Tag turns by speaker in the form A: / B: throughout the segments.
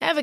A: Ever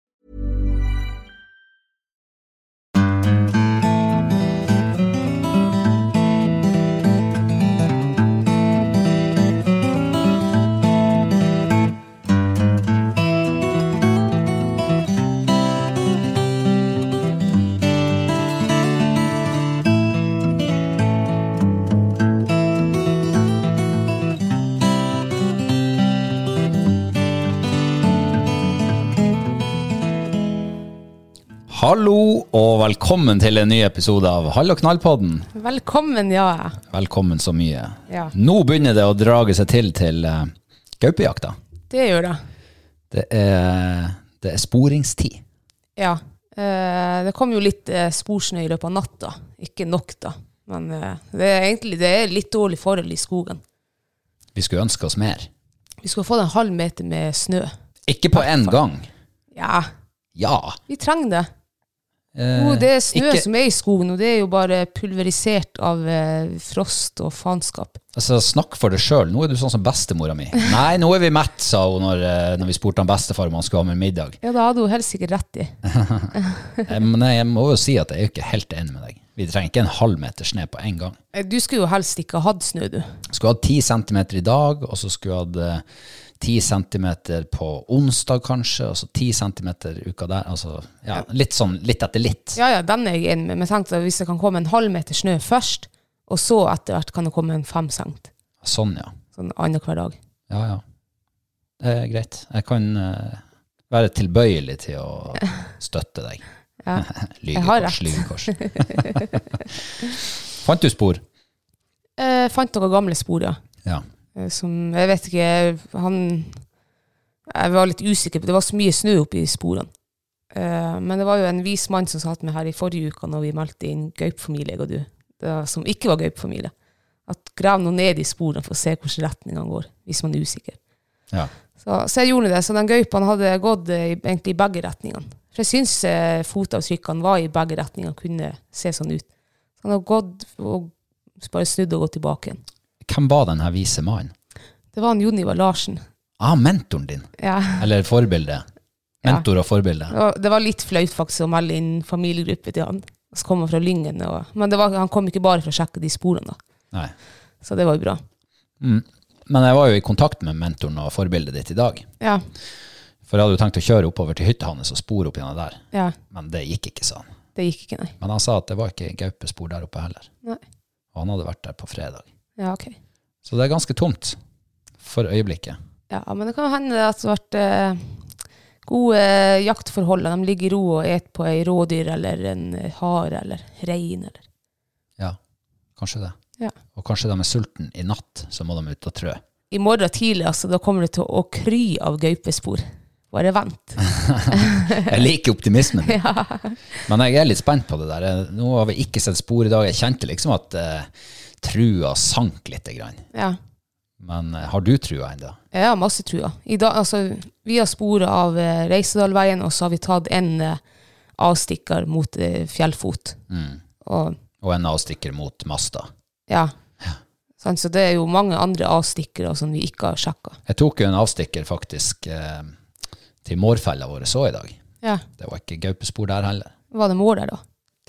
B: Hallo og velkommen til en ny episode av Hall og knall-podden.
C: Velkommen, ja.
B: Velkommen så mye.
C: Ja.
B: Nå begynner det å drage seg til til eh, gaupejakta.
C: Det gjør det.
B: Det er, det er sporingstid.
C: Ja. Eh, det kom jo litt eh, sporsnø i løpet av natta. Ikke nok, da. Men eh, det er egentlig det er litt dårlig forhold i skogen.
B: Vi skulle ønske oss mer.
C: Vi skulle fått en halv meter med snø.
B: Ikke på én gang.
C: Ja,
B: Ja.
C: vi trenger det.
B: Eh,
C: Jo, det er snø
B: ikke-
C: som er i skogen, og det er jo bare pulverisert av eh, frost og faenskap.
B: Altså, snakk for deg sjøl. Nå er du sånn som bestemora mi. Nei, nå er vi mett, sa hun når, eh, når vi spurte han bestefar om han skulle ha med middag.
C: Ja, det hadde hun helt sikkert rett i.
B: Eh, Men jeg må jo si at jeg er ikke helt enig med deg. Vi trenger ikke en halv meter snø på én gang.
C: Eh, Du skulle jo helst ikke ha hatt snø, du.
B: Skulle hatt 10 cm i dag, og så skulle jeg hatt eh, 10 cm på onsdag kanskje, og så 10 cm uka der. Altså, ja, litt sånn litt etter litt.
C: Ja, ja, den er jeg enig med, men jeg tenkte at hvis det kan komme en halv meter snø først, og så etter hvert kan det komme en fem cent.
B: Sånn, ja.
C: sånn annenhver dag.
B: Ja, ja. Det er greit. Jeg kan eh, være tilbøyelig til å støtte deg.
C: Ja. Jeg har
B: Lygekors,
C: rett.
B: lygekors. Fant du spor?
C: Eh, fant noen gamle spor, ja.
B: Ja.
C: Eh, Som Jeg vet ikke Han Jeg var litt usikker, på- det var så mye snø oppi sporene. Eh, men det var jo en vis mann som satt med her i forrige uke når vi meldte inn gaupefamilie, jeg og du, det, som ikke var gaupefamilie. At grav nå ned i sporene for å se hvilken retning han går, hvis man er usikker.
B: ja.
C: Så, så jeg gjorde det. Så den gaupen hadde gått eh, i- egentlig i begge retningene. For jeg syns eh, fotavtrykkene var i begge retninger, kunne se sånn ut. Så han hadde gått og bare snudd og gått tilbake igjen.
B: Hvem var den her vise mannen?
C: Det var han Jon Ivar Larsen.
B: Ah, mentoren din.
C: Ja.
B: Eller forbildet.
C: Ja.
B: Mentor og forbilde.
C: Det var- Det var litt flaut faktisk å melde inn familiegruppe til han. Så kom han fra Lyngen. Og, men det var, han kom ikke bare for å sjekke de sporene, da.
B: Nei.
C: Så det var jo bra.
B: Mm. Men jeg var jo i kontakt med mentoren og forbildet ditt i dag.
C: Ja.
B: For jeg hadde jo tenkt å kjøre oppover til hytta hans og spore opp gjennom der.
C: ja.
B: Men det gikk ikke, sa han.
C: Det gikk ikke, nei.
B: Men han sa at det var ikke gaupespor der oppe heller.
C: Nei.
B: Og han hadde vært der på fredag.
C: Ja, ok.
B: Så det er ganske tomt for øyeblikket.
C: Ja, men det kan hende at det har vært eh, gode jaktforhold. og De ligger i ro og et på ei rådyr eller en hare eller rein. Eller.
B: Ja, kanskje det.
C: Ja.
B: Og kanskje de er sulten i natt, så må de ut og trø.
C: I morgen tidlig altså, da kommer det til å kry av gaupespor. Bare vent.
B: Jeg liker optimismen. Men jeg er litt spent på det der. Jeg- Nå har vi ikke sett spor i dag. Jeg kjente liksom at eh, trua sank litt. Grann.
C: Ja.
B: Men eh, har du trua ennå?
C: Jeg har masse trua. I dag, altså, vi har sporet av eh, Reisedalveien, og så har vi tatt en eh, avstikker mot eh, Fjellfot.
B: Mm.
C: Og
B: Og en avstikker mot Masta.
C: ja. Sånn, så det er jo mange andre avstikkere som vi ikke har sjekka.
B: Jeg tok jo en avstikker faktisk eh, til mårfella vår så i dag.
C: Ja.
B: Det var ikke gaupespor der heller.
C: Var det mår der, da?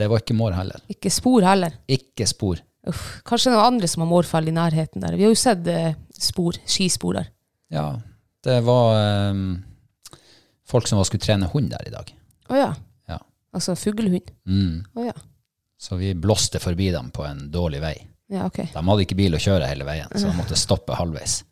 B: Det var ikke mår heller.
C: Ikke spor heller.
B: Ikke spor.
C: Uff, kanskje noen andre som har mårfall i nærheten der. Vi har jo sett eh, spor, skispor der.
B: Ja, det var eh, folk som var skulle trene hund der i dag.
C: Å ja.
B: Ja.
C: Altså fuglehund.
B: Mm.
C: Å ja.
B: Så vi blåste forbi dem på en dårlig vei.
C: Ja, ok.
B: De hadde ikke bil å kjøre hele veien, så de måtte stoppe halvveis.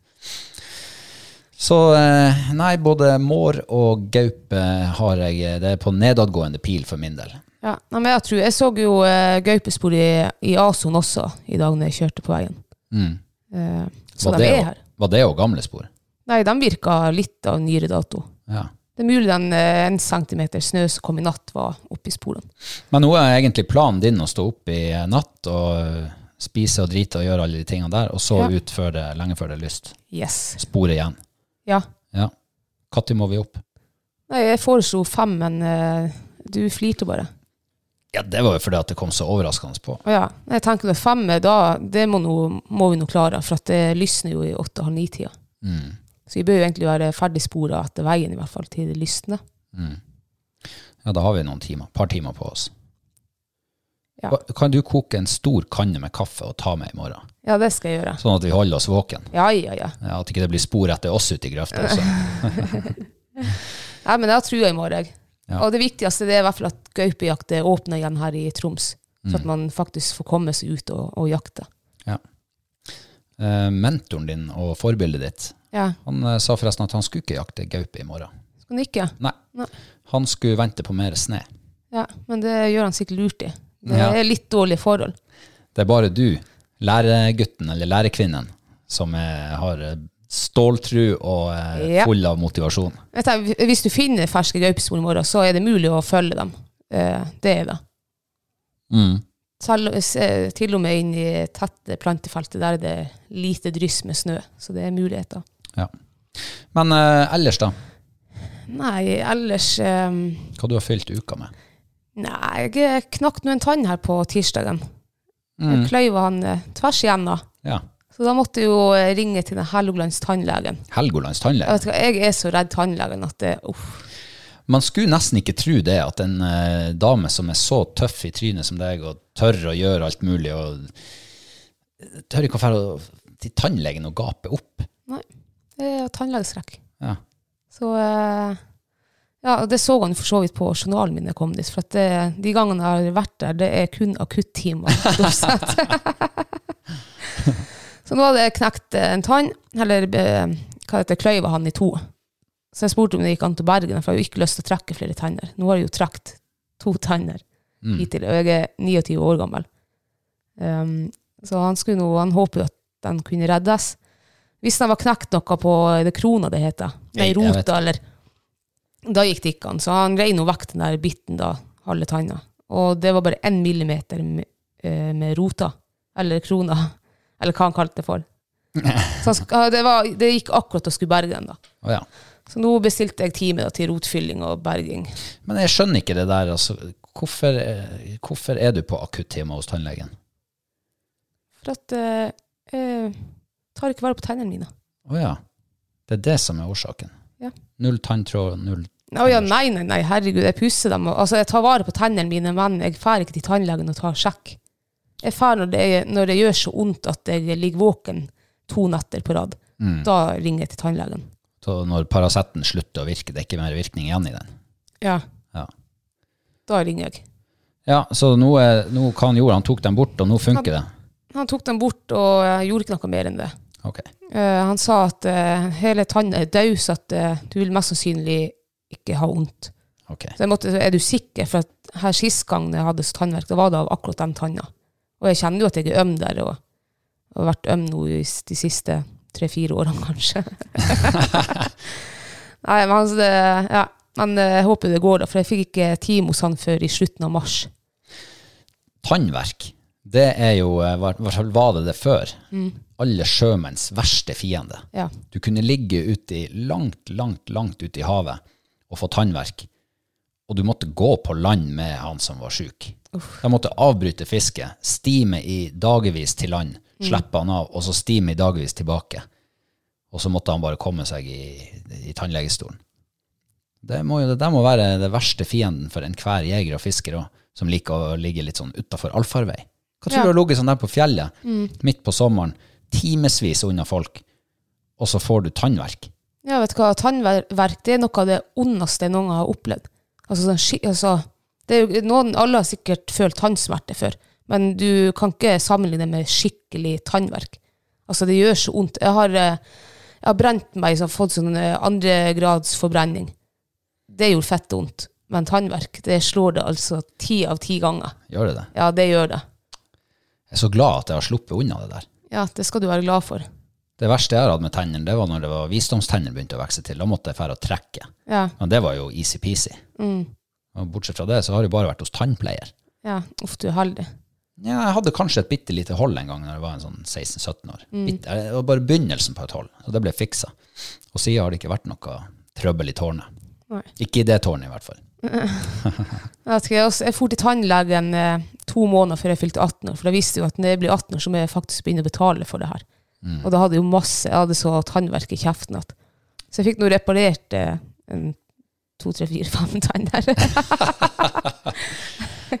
B: Så eh, nei, både mår og gaupe har jeg Det er på nedadgående pil for min del.
C: Ja, nei, men jeg tror Jeg så jo eh, gaupespor i, i Ason også i dag når jeg kjørte på veien.
B: Mm.
C: Eh, så
B: Var
C: de
B: det
C: er
B: jo-
C: her.
B: Var det jo gamle spor?
C: Nei, de virka litt av nyere dato.
B: Ja.
C: Det er mulig den eh, en centimeter snø som kom i natt, var oppi sporene.
B: Men nå er egentlig planen din å stå opp i natt og eh, spise og drite og gjøre alle de tingene der, og så
C: Ja.
B: ut før det, lenge før det er lyst.
C: Yes.
B: Sporet igjen.
C: Ja.
B: Ja. Når må vi opp?
C: Nei, jeg foreslo fem, men eh, du flirte bare.
B: Ja, det var jo fordi at det kom så overraskende på.
C: Å ja. Nei, Jeg tenker det fem, eh, da, det må, nå- må vi nå klare, for at det lysner jo i åtte-halv ni-tida.
B: Mm.
C: Så vi bør jo egentlig være ferdig spora etter veien, i hvert fall til det lysner.
B: Ja, da har vi noen timer, par timer på oss.
C: Ja.
B: Hva- Kan du koke en stor kanne med kaffe og ta med i morgen?
C: Ja, det skal jeg gjøre.
B: Sånn at vi holder oss våken.
C: Ja, ja, ja.
B: Ja, at ikke det blir spor etter oss ute i grøfta. altså. Så.
C: Nei, men jeg har trua i morgen.
B: Ja.
C: Og det viktigste det er i hvert fall at gaupejakt er åpna igjen her i Troms.
B: Mm.
C: Så at man faktisk får komme seg ut og, og jakte.
B: Ja. Eh, mentoren din og forbildet ditt,
C: Ja.
B: han eh, sa forresten at han skulle ikke jakte gaupe i morgen.
C: Skal han ikke?
B: Nei.
C: Nei.
B: Han skulle vente på mer snø.
C: Ja, men det gjør han sikkert lurt i. Det
B: Ja.
C: er litt dårlige forhold.
B: Det er bare du, læregutten eller lærekvinnen, som er, har eh, ståltru og eh,
C: Ja.
B: full av motivasjon.
C: Jeg tenker, hvis du finner ferske gaupespor i morgen, så er det mulig å følge dem. Eh, det er det.
B: Mm.
C: Selv, se- eh, til og med inn i tette plantefeltet der det er lite dryss med snø. Så det er muligheter.
B: Ja. Men eh, ellers, da?
C: Nei, ellers eh,
B: Hva du har fylt uka med?
C: Nei, jeg knakk nå en tann her på tirsdagen. Jeg kløyva han eh, tvers igjennom.
B: Ja.
C: Så da måtte jeg jo eh, ringe til den Helgolands tannlegen.
B: Helgolands
C: Jeg,
B: tannlege.
C: vet ikke, jeg er så redd tannlegen at det uff.
B: Man skulle nesten ikke tro det, at en eh, dame som er så tøff i trynet som deg, og tør å gjøre alt mulig, og eh, tør ikke å dra til tannlegen og gape opp.
C: Nei, det er tannlegeskrekk.
B: Ja.
C: Så eh, Ja, og det så han for så vidt på journalen min da jeg kom dit. For at det, de gangene jeg har vært der, det er kun akuttimer. stort sett. så nå hadde jeg knekt eh, en tann, eller eh, hva heter det, kløyva han i to. Så jeg spurte om det gikk an til Bergen, for jeg har jo ikke lyst til å trekke flere tenner. Nå har jeg jo trukket to tenner
B: Mm.
C: hittil, og jeg er 29 år gammel. Um, så han, skulle nå, han håper jo at den kunne reddes. Hvis den var knekt noe på er det krona det heter, nei,
B: Jeg- jeg vet
C: rota eller Da gikk det ikke an. Så han rei nå vekk den der biten, da, halve tanna. Og det var bare én millimeter med, eh, med rota, eller krona, eller hva han kalte det for. Så han, sk- ja, det, var, det gikk akkurat å skulle berge den, da.
B: Å, ja.
C: Så nå bestilte jeg time da, til rotfylling og berging.
B: Men jeg skjønner ikke det der. Altså, hvorfor, eh, hvorfor er du på akuttime hos tannlegen?
C: For at eh, jeg tar ikke vare på tennene mine.
B: Å ja. Det er det som er årsaken.
C: Ja.
B: Null tanntråd, null
C: Å ja, nei, nei, nei, herregud, jeg pusser dem. og- Altså, jeg tar vare på tennene mine, men jeg drar ikke til tannlegen og tar sjekk. Jeg drar når, det- når det gjør så vondt at jeg ligger våken to netter på rad. Da ringer jeg til tannlegen.
B: Så Når Paraceten slutter å virke, det er ikke mer virkning igjen i den.
C: Ja.
B: Ja.
C: Da ringer jeg.
B: Ja, så nå, er, nå kan jorda, han tok den bort, og nå funker det.
C: Han tok dem bort og eh, gjorde ikke noe mer enn det.
B: Ok.
C: Eh, han sa at eh, hele tanna er død, så at eh, du vil mest sannsynlig ikke ha vondt.
B: ok.
C: Så jeg måtte, er du sikker? For at her sist gang jeg hadde tannverk, da var det av akkurat den tanna. Og jeg kjenner jo at jeg er øm der, og, og har vært øm nå i s- de siste tre-fire årene, kanskje. Nei, men altså det, ja. Men eh, jeg håper det går, da, for jeg fikk ikke time hos han før i slutten av mars. Mm.
B: Tannverk, det er jo eh, var- i hvert fall var det det før. alle sjømenns verste fiende.
C: Ja.
B: Du kunne ligge uti langt, langt, langt ute i havet og få tannverk, og du måtte gå på land med han som var syk. De måtte avbryte fisket, stime i dagevis til land, slippe han av, og så stime i dagevis tilbake. Og så måtte han bare komme seg i, i tannlegestolen. Det må, jo, det der må være det verste fienden for enhver jeger og fisker også, som liker å ligge litt sånn utafor allfarvei. Hva tror
C: Ja.
B: du har ligget sånn der på fjellet, midt på sommeren, timevis unna folk, og så får du tannverk?
C: Ja, vet du hva, tannverk det er noe av det ondeste jeg noen gang har opplevd. Altså, sånn, skik- altså det er jo, noen, Alle har sikkert følt tannsmerte før, men du kan ikke sammenligne med skikkelig tannverk. Altså, det gjør så vondt. Jeg har, eh, jeg har brent meg og fått sånn eh, andre grads forbrenning. Det gjorde fett vondt. Men tannverk, det slår det altså ti av ti ganger.
B: Gjør det det?
C: Ja, det gjør det.
B: Jeg er så glad at jeg har sluppet unna det der.
C: Ja, det skal du være glad for.
B: Det verste jeg har hatt med tennene, det var når det var visdomstennene begynte å vokse til. Da måtte jeg fære og trekke.
C: Ja,
B: Men det var jo easy-peasy. Og Bortsett fra det, så har jeg bare vært hos tannpleier.
C: ja. Uff, du er heldig.
B: Ja, jeg hadde kanskje et bitte lite hold en gang når jeg var en sånn 16-17 år. Bitte, det var bare begynnelsen på et hold, så det ble fiksa. Og siden har det ikke vært noe trøbbel i tårnet.
C: Nei.
B: Ikke i det tårnet, i hvert fall.
C: Jeg vet ikke, jeg også- jeg for til tannlegen eh, to måneder før jeg fylte 18 år, for da visste jeg jo at når jeg blir 18 år, så må jeg faktisk begynne å betale for det her.
B: Mm.
C: Og da hadde jeg jo masse, jeg hadde så tannverk i kjeften at Så jeg fikk nå reparert eh, en to, tre, fire, fem tenner.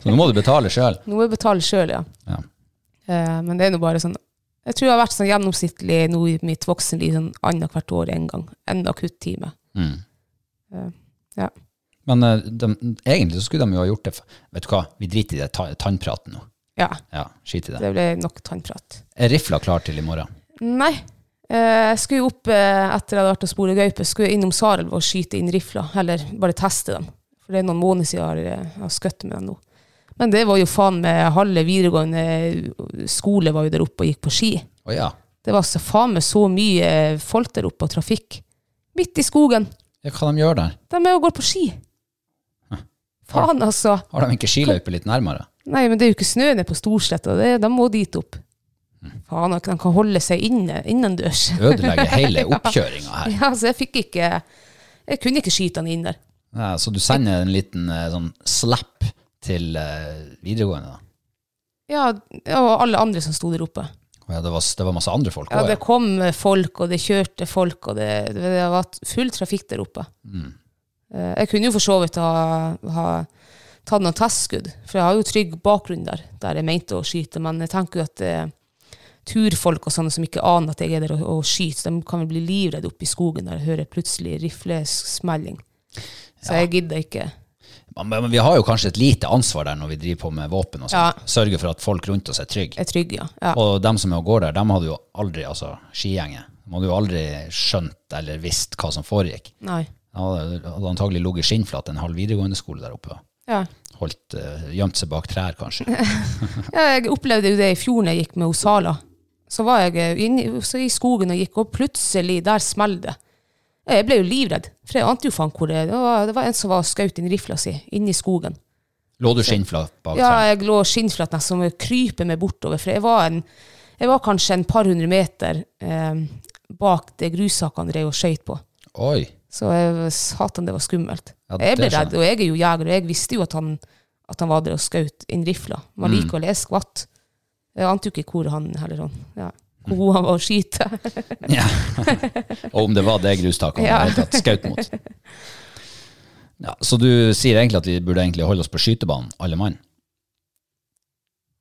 B: Så nå må du betale sjøl.
C: nå må jeg betale sjøl, ja.
B: Ja.
C: Eh, men det er nå bare sånn Jeg tror jeg har vært sånn gjennomsnittlig nå i mitt voksenliv sånn annethvert år en gang. En akuttime.
B: Mm.
C: Eh, ja.
B: Men eh, de, egentlig så skulle de jo ha gjort det f- Vet du hva, vi driter i det ta tannpraten nå.
C: Ja,
B: Ja, skit i det.
C: det ble nok tannprat.
B: Er rifla klar til i morgen?
C: Nei. Eh, Jeg skulle jo opp eh, etter jeg hadde vært og sporet gaupe, skulle jeg innom Sarelv og skyte inn rifla, eller bare teste dem. For det er noen måneder siden jeg har, eh, jeg har skutt med dem nå. Men det var jo faen med halve videregående skole var jo der oppe og gikk på ski.
B: Å ja.
C: Det var så faen meg så mye folk der oppe og trafikk. Midt i skogen.
B: ja. Hva de gjør der?
C: De er jo og går på ski. Faen, altså.
B: Har de ikke skiløype litt nærmere?
C: Nei, men det er jo ikke snø nede på Storsletta. Det- De må dit opp. Faen, at de kan holde seg inne innendørs.
B: Ødelegger hele oppkjøringa her.
C: Ja, så jeg fikk ikke Jeg kunne ikke skyte han inn der.
B: Ja, så du sender en liten eh, sånn slap til eh, videregående, da?
C: Ja, og alle andre som sto der oppe.
B: Å Ja, det, var, det var masse andre folk
C: Ja,
B: òg, ja.
C: det kom folk, og det kjørte folk, og det, det var full trafikk der oppe. Eh, Jeg kunne jo for så vidt ha, ha tatt noen testskudd, for jeg har jo trygg bakgrunn der, der jeg mente å skyte, men jeg tenker jo at eh, turfolk og sånne som ikke aner at jeg er der og, og skyter, de kan vel bli livredde oppe i skogen der jeg hører plutselig riflesmelling. Så jeg gidder ikke.
B: Men, men vi har jo kanskje et lite ansvar der når vi driver på med våpen og sånn.
C: Ja.
B: Sørge for at folk rundt oss er trygge.
C: Jeg er trygg, ja. ja.
B: Og dem som er og går der, dem hadde jo aldri, altså skigjengen, de hadde jo aldri skjønt eller visst hva som foregikk.
C: Nei.
B: De hadde, hadde antagelig ligget skinnflat en halv videregående skole der oppe.
C: Ja.
B: Holdt, eh, gjemt seg bak trær, kanskje.
C: Ja, jeg opplevde jo det i fjor når jeg gikk med Osala. Så var jeg eh, inne så i skogen og gikk, og plutselig, der smelte det. Ja, Jeg ble jo livredd, for jeg ante jo faen hvor det Det var, det var en som var skaut inn rifla si, inne i skogen.
B: Lå du skinnflat bak
C: Ja,
B: trær?
C: jeg lå skinnflat nesten som jeg kryper meg bortover, for jeg var, en, jeg var kanskje en par hundre meter eh, bak det grushakene drev og skøyt på.
B: Oi.
C: Så jeg, satan, det var skummelt.
B: Ja,
C: jeg ble
B: det skjønner
C: redd, og jeg er jo jeger, og jeg visste jo at han, at han var der og skjøt inn rifla.
B: Mm.
C: Men likevel, jeg skvatt. Jeg ante jo ikke hvor han heller sånn. Ja. Hvor god han var å skyte.
B: Ja. Og om det var det grustaket han
C: Ja.
B: hadde tatt skaut mot. Ja, så du sier egentlig at vi burde egentlig holde oss på skytebanen, alle mann?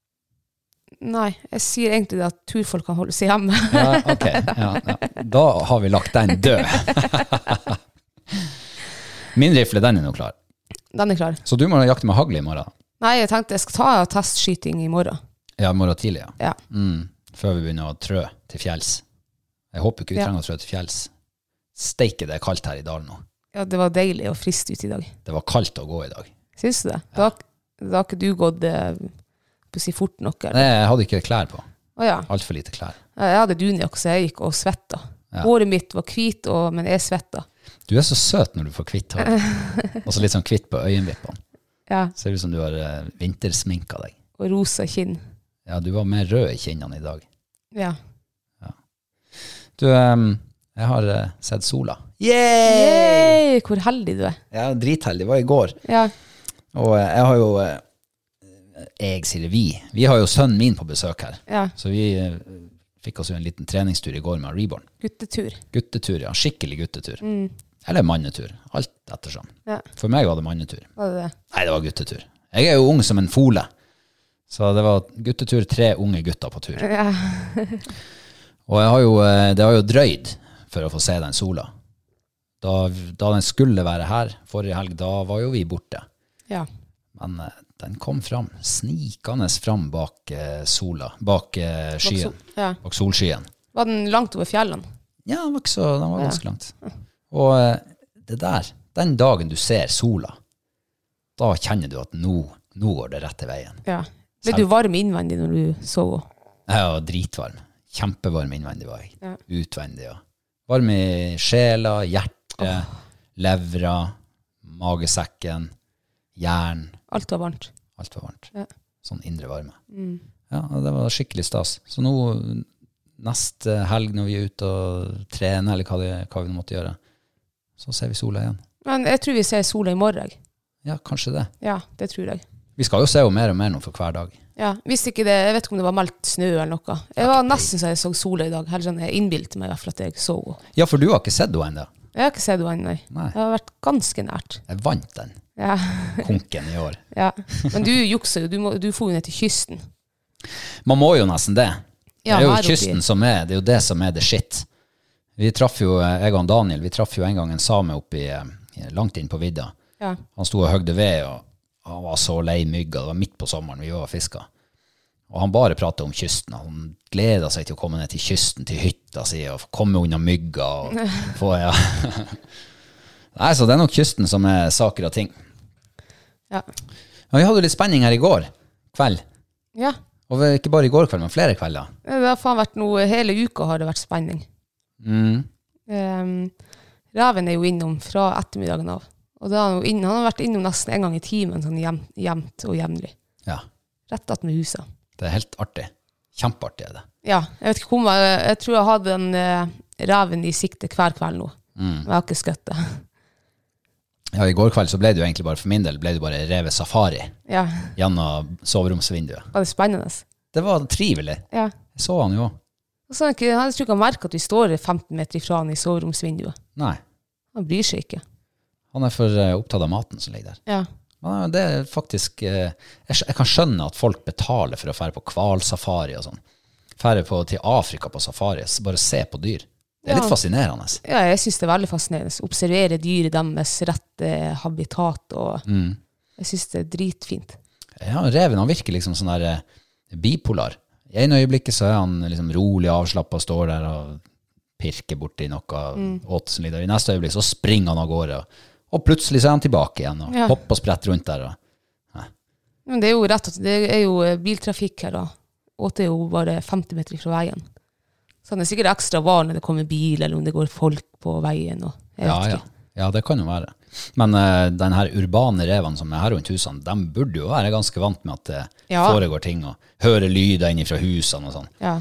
C: Nei, jeg sier egentlig det at turfolk kan holde seg hjemme.
B: Ja, ok. Ja, ja. Da har vi lagt den død. Min rifle, den er nå klar.
C: Den er klar.
B: Så du må jakte med hagle i morgen.
C: Nei, jeg tenkte jeg skal ta testskyting i morgen.
B: Ja, i morgen tidlig, ja.
C: Ja.
B: Mm. Før vi begynner å trø til fjells. Jeg håper ikke vi
C: Ja.
B: trenger å trø til fjells. Steike, det er kaldt her i dalen nå.
C: ja, det var deilig og frist ut i dag.
B: Det var kaldt å gå i dag.
C: Syns du det? Da, da har ikke du gått eh, på å si fort nok.
B: Nei,
C: eller?
B: jeg hadde ikke klær på.
C: Å ja.
B: Altfor lite klær.
C: Jeg hadde dunjakke, så jeg gikk og svetta.
B: Ja.
C: Håret mitt var hvit, og, men jeg svetta.
B: Du er så søt når du får kvitt hår. Og så litt sånn kvitt på øyenvippene.
C: Ja.
B: Ser ut som du har eh, vintersminka deg.
C: og rosa kinn.
B: Ja, du var mer rød i kinnene i dag.
C: Ja.
B: Ja. Du, ehm, jeg har eh, sett sola.
C: Yay! Eh, Hvor heldig du er.
B: Jeg er dritheldig. Det var i går.
C: Ja.
B: Og eh, jeg har jo eh, Jeg sier vi. Vi har jo sønnen min på besøk her.
C: ja.
B: Så vi eh, fikk oss jo en liten treningstur i går med Reborn.
C: Guttetur.
B: Guttetur, ja. Skikkelig guttetur. Eller mannetur. Alt ettersom.
C: Ja.
B: For meg var det mannetur.
C: Var det det?
B: Nei, det var guttetur. Jeg er jo ung som en fole. Så det var guttetur, tre unge gutter på tur.
C: Ja.
B: Og jeg har jo, eh, det har jo drøyd for å få se den sola. Da, da den skulle være her forrige helg, da var jo vi borte.
C: ja.
B: Men eh, den kom fram, snikende fram bak eh, sola, bak eh, skyen,
C: Ja.
B: bak solskyen.
C: Var den langt over fjellene?
B: Ja, den var, ikke så, den var ganske langt. Og eh, det der, den dagen du ser sola, da kjenner du at nå, nå går det rette veien.
C: Ja. Ble du varm innvendig når du så henne?
B: Jeg var dritvarm. Kjempevarm innvendig var jeg.
C: Ja.
B: Utvendig, ja. Varm i sjela, hjertet, levra, magesekken, hjernen.
C: Alt var varmt.
B: Alt var varmt.
C: Ja. Mm.
B: Sånn indre varme. Ja, og det var skikkelig stas. Så nå, neste helg når vi er ute og trener, eller hva, det, hva vi nå måtte gjøre, så ser vi sola igjen.
C: Men jeg tror vi ser sola i morgen. jeg.
B: Ja, kanskje det.
C: Ja, det tror jeg.
B: Vi skal jo se henne mer og mer nå for hver dag.
C: Ja, hvis ikke det, Jeg vet ikke om det var meldt snø eller noe. Jeg var nesten så jeg så sola i dag. Heller sånn, Jeg innbilte meg i hvert fall at jeg så henne.
B: Ja, for du har ikke sett henne ennå.
C: Jeg har ikke sett henne ennå.
B: Nei.
C: Jeg har vært ganske nært.
B: Jeg vant den
C: Ja.
B: konken i år.
C: ja. Men du jukser jo. Du, må- du for jo ned til kysten.
B: Man må jo nesten det.
C: Ja,
B: det er
C: her
B: jo
C: oppe i-
B: kysten som er, det er jo det som er the shit. Vi traff jo, eh, jeg og Daniel, vi traff jo en gang en same oppi, eh, langt inn på vidda.
C: Ja.
B: Han sto og høgde ved, og han var så lei mygga. Det var midt på sommeren, vi var og fiska. Og han bare prata om kysten. og Han gleda seg til å komme ned til kysten, til hytta si, og komme unna mygga. Og få, ja. Nei, så det er nok kysten som er saker og ting.
C: Ja.
B: Men vi hadde jo litt spenning her i går kveld.
C: ja.
B: Og ikke bare i går kveld, men flere kvelder.
C: Det har faen vært noe Hele uka har det vært spenning.
B: Mm.
C: Ehm, reven er jo innom fra ettermiddagen av. Og da er han, jo inn, han har vært innom nesten en gang i timen, sånn jevn- jevnt og jevnlig.
B: Ja.
C: Rett attmed huset.
B: Det er helt artig. Kjempeartig er det.
C: Ja, jeg vet ikke hvor mange Jeg tror jeg hadde den eh, reven i sikte hver kveld nå. Men jeg har ikke skutt det.
B: Ja, I går kveld så ble det jo egentlig bare for min del ble det bare revet safari
C: Ja,
B: gjennom soveromsvinduet.
C: var det spennende?
B: Det var trivelig.
C: Ja.
B: Jeg så han jo.
C: Og så er han ikke, han tror ikke han merker at vi står 15 meter ifra han i soveromsvinduet.
B: Nei,
C: Han bryr seg ikke.
B: han er for eh, opptatt av maten som ligger der.
C: Ja.
B: Men eh, det er faktisk eh, Jeg skj- jeg kan skjønne at folk betaler for å fære på hvalsafari og sånn. Fære på, til Afrika på safari, s- bare se på dyr. Det er
C: Ja.
B: litt fascinerende.
C: ja, jeg syns det er veldig fascinerende. Observere dyret deres rette habitat og
B: Mm.
C: Jeg syns det er dritfint.
B: Ja, reven han virker liksom sånn der eh, bipolar. I en øyeblikket så er han liksom rolig avslappa, står der og pirker borti noe
C: Mm.
B: åt som ligger der. I neste øyeblikk så springer han av gårde, og plutselig så er han tilbake igjen og
C: Ja.
B: hopper og spretter rundt der. Og.
C: Men det er jo rett at det er jo eh, biltrafikk her, da. Og det er jo bare 50 meter fra veien. Så han er sikkert ekstra var når det kommer bil, eller om det går folk på veien. Og, jeg
B: Ja,
C: vet
B: ja.
C: ikke.
B: ja, det kan jo være. Men eh, den her urbane reven som er her rundt husene, de burde jo være ganske vant med at det
C: Ja.
B: foregår ting, og hører lyder innifra husene og sånn.
C: Ja.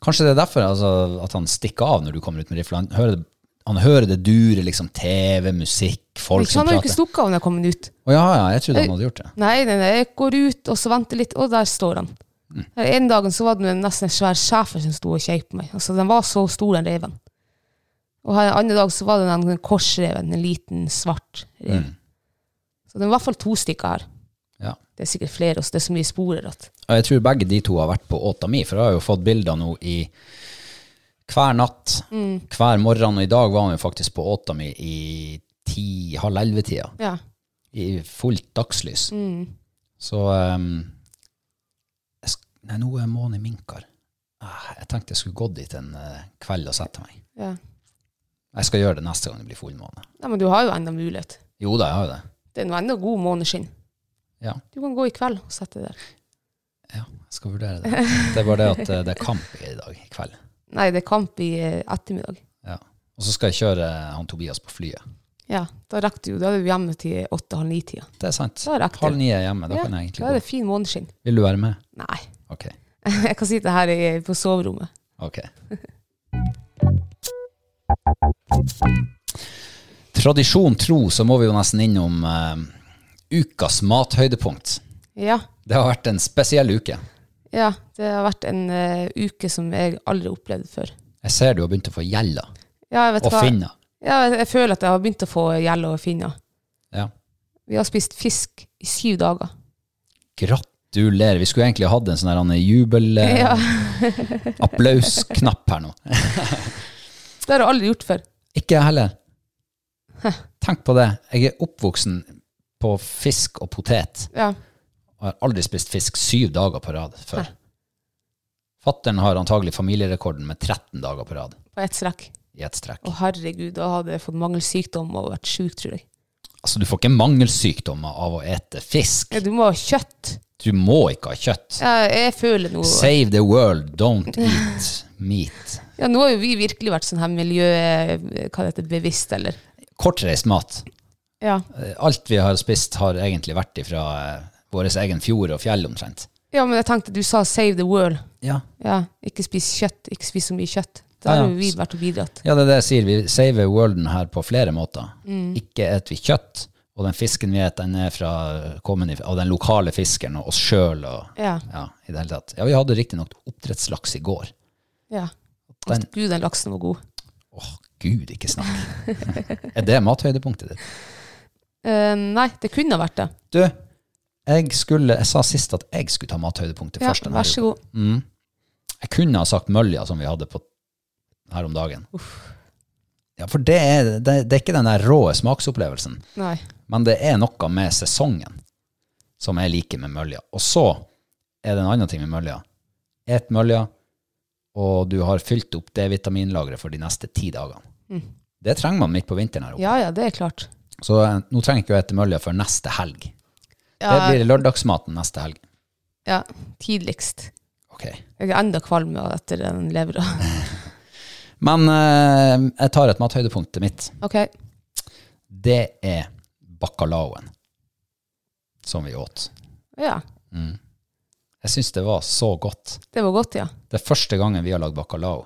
B: Kanskje det er derfor altså, at han stikker av når du kommer ut med rifla. Han hører, han hører det dure liksom, TV, musikk,
C: Men
B: folk
C: ikke-
B: som
C: han har jo ikke
B: prater.
C: stukket av når jeg kom ut.
B: Å ja, ja, jeg trodde han hadde gjort det.
C: Nei, nei, nei, jeg går ut, og så venter litt, og der står han.
B: Mm.
C: Her En dagen så var det nesten en svær schæfer som sto og kjeip på meg. Altså, den var så stor, den reven. Og her, en annen dag så var det den, den korsreven, en liten, svart rev.
B: Mm.
C: Så det er i hvert fall to stykker her.
B: Ja.
C: Det er sikkert flere, og så det er så mye sporer at
B: Og jeg tror begge de to har vært på åta mi, for jeg har jo fått bilder nå i hver natt,
C: Mm.
B: hver morgen, og i dag var han jo faktisk på åta mi i ti, halv elleve-tida,
C: Ja.
B: i fullt
C: Mm.
B: dagslys. Så ehm, jeg sk Nei, nå er månen minkar. Ah, Jeg tenkte jeg skulle gått dit en eh, kveld og sette meg.
C: ja.
B: Jeg skal gjøre det neste gang det blir fullmåne.
C: Nei, men du har jo enda mulighet.
B: Jo da, jeg har jo det.
C: Det er nå enda god måneskinn.
B: Ja,
C: Du kan gå i kveld og sette deg der.
B: ja, jeg skal vurdere det. Det er bare det at eh, det er kamp i dag, i kveld.
C: Nei, det er kamp i eh, ettermiddag.
B: Ja. Og så skal jeg kjøre eh, han Tobias på flyet.
C: Ja, da rekker du jo. Da er du hjemme til åtte-halv ni-tida.
B: Det er sant.
C: Da rekker det.
B: Halv ni er jeg hjemme, da
C: Ja,
B: kan jeg
C: da er
B: egentlig
C: det
B: gå.
C: fin måneskinn.
B: Vil du være med?
C: Nei,
B: Ok.
C: jeg kan sitte her i, på soverommet.
B: ok. Tradisjon tro, så må vi jo nesten innom eh, ukas mathøydepunkt.
C: Ja.
B: Det har vært en spesiell uke.
C: ja. Det har vært en eh, uke som jeg aldri opplevde før.
B: Jeg ser du har begynt å få gjelda
C: Ja, jeg vet
B: og
C: hva.
B: finna.
C: Ja, jeg, jeg føler at jeg har begynt å få gjeld over finna.
B: Ja.
C: Vi har spist fisk i syv dager.
B: Gratulerer. Vi skulle egentlig hatt en sånn her, han, jubel... eh,
C: Ja.
B: Applausknapp her nå.
C: Det har jeg aldri gjort før.
B: Ikke jeg heller. Tenk på det. Jeg er oppvoksen på fisk og potet,
C: Ja.
B: og har aldri spist fisk syv dager på rad før. Fattern har antagelig familierekorden med 13 dager på rad
C: På ett strekk.
B: i ett strekk.
C: Å, herregud, da hadde jeg fått mangelsykdom og vært sjuk, tror jeg.
B: Altså, du får ikke mangelsykdommer av å ete fisk.
C: Ja, du må ha kjøtt.
B: Du må ikke ha kjøtt.
C: Jeg, jeg føler noe
B: Save the world, don't eat meat.
C: Ja, nå har jo vi virkelig vært sånn her miljø... Hva det heter Bevisst, eller?
B: Kortreist mat.
C: Ja.
B: Eh, Alt vi har spist, har egentlig vært ifra eh, vår egen fjord og fjell omtrent.
C: ja, men jeg tenkte du sa 'save the world'.
B: Ja.
C: Ja, ikke spis kjøtt. Ikke spis så mye kjøtt. Da
B: Ja, ja.
C: har jo vi vært og bidratt.
B: Ja, det er det jeg sier. Vi saver worlden her på flere måter.
C: Mm.
B: Ikke et vi kjøtt, og den fisken vi et, den er fra, kommet if- av den lokale fiskeren og oss sjøl. Og,
C: Ja.
B: ja, i det hele tatt. Ja, vi hadde riktignok oppdrettslaks i går.
C: ja.
B: Den,
C: Gud, den laksen var god.
B: åh, gud, ikke snakk. er det mathøydepunktet ditt?
C: Eh, nei, det kunne ha vært det.
B: Du, jeg skulle, jeg sa sist at jeg skulle ta mathøydepunktet
C: Ja,
B: først. denne
C: vær så
B: uka.
C: god.
B: Mm. Jeg kunne ha sagt mølja som vi hadde på her om dagen. Ja, for det er, det, det er ikke den der rå smaksopplevelsen.
C: Nei.
B: Men det er noe med sesongen som jeg liker med mølja. Og så er det en annen ting med mølja. Et mølja, og du har fylt opp D-vitaminlageret for de neste ti dagene. Det trenger man midt på vinteren her oppe.
C: Mm. Ja ja, det er klart.
B: Så eh, nå trenger jeg ikke å ete mølja før neste helg. Det
C: Ja,
B: blir lørdagsmaten neste helg.
C: ja, tidligst.
B: Ok.
C: Jeg er enda kvalm etter den levra.
B: Men eh, jeg tar et mathøydepunkt mitt.
C: Ok.
B: Det er bacalaoen som vi åt.
C: Ja,
B: Jeg syns det var så godt.
C: det var godt, ja. Mm.
B: Det er første gangen vi har lagd bacalao.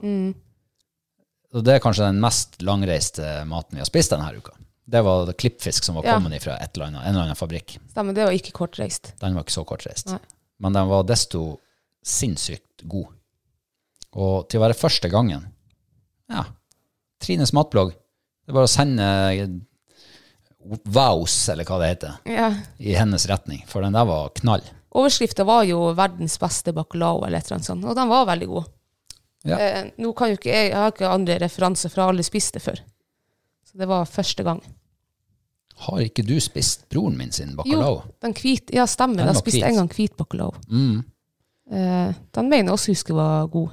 B: Og det er kanskje den mest langreiste maten vi har spist denne uka. Det var det klippfisk som var
C: Ja.
B: kommet fra et eller annet, en eller annen fabrikk.
C: Stemmer, det var ikke kortreist.
B: Den var ikke så kortreist.
C: Nei.
B: Men den var desto sinnssykt god. Og til å være første gangen Ja. Trines matblogg. Det er bare å sende vows, eller hva det heter,
C: Ja.
B: i hennes retning. For den der var knall.
C: Overskrifta var jo 'verdens beste bacalao', eller et eller annet sånt, og den var veldig god.
B: Ja.
C: Eh, nå kan jo ikke jeg, jeg har ikke andre referanser fra alle spiste før. Så det var første gang.
B: Har ikke du spist broren min sin bacalao?
C: Jo, den hvit, ja stemmer,
B: Den
C: jeg
B: var
C: spiste
B: hvit.
C: en gang hvit bacalao.
B: Mm.
C: Eh, den mener jeg også husker var god.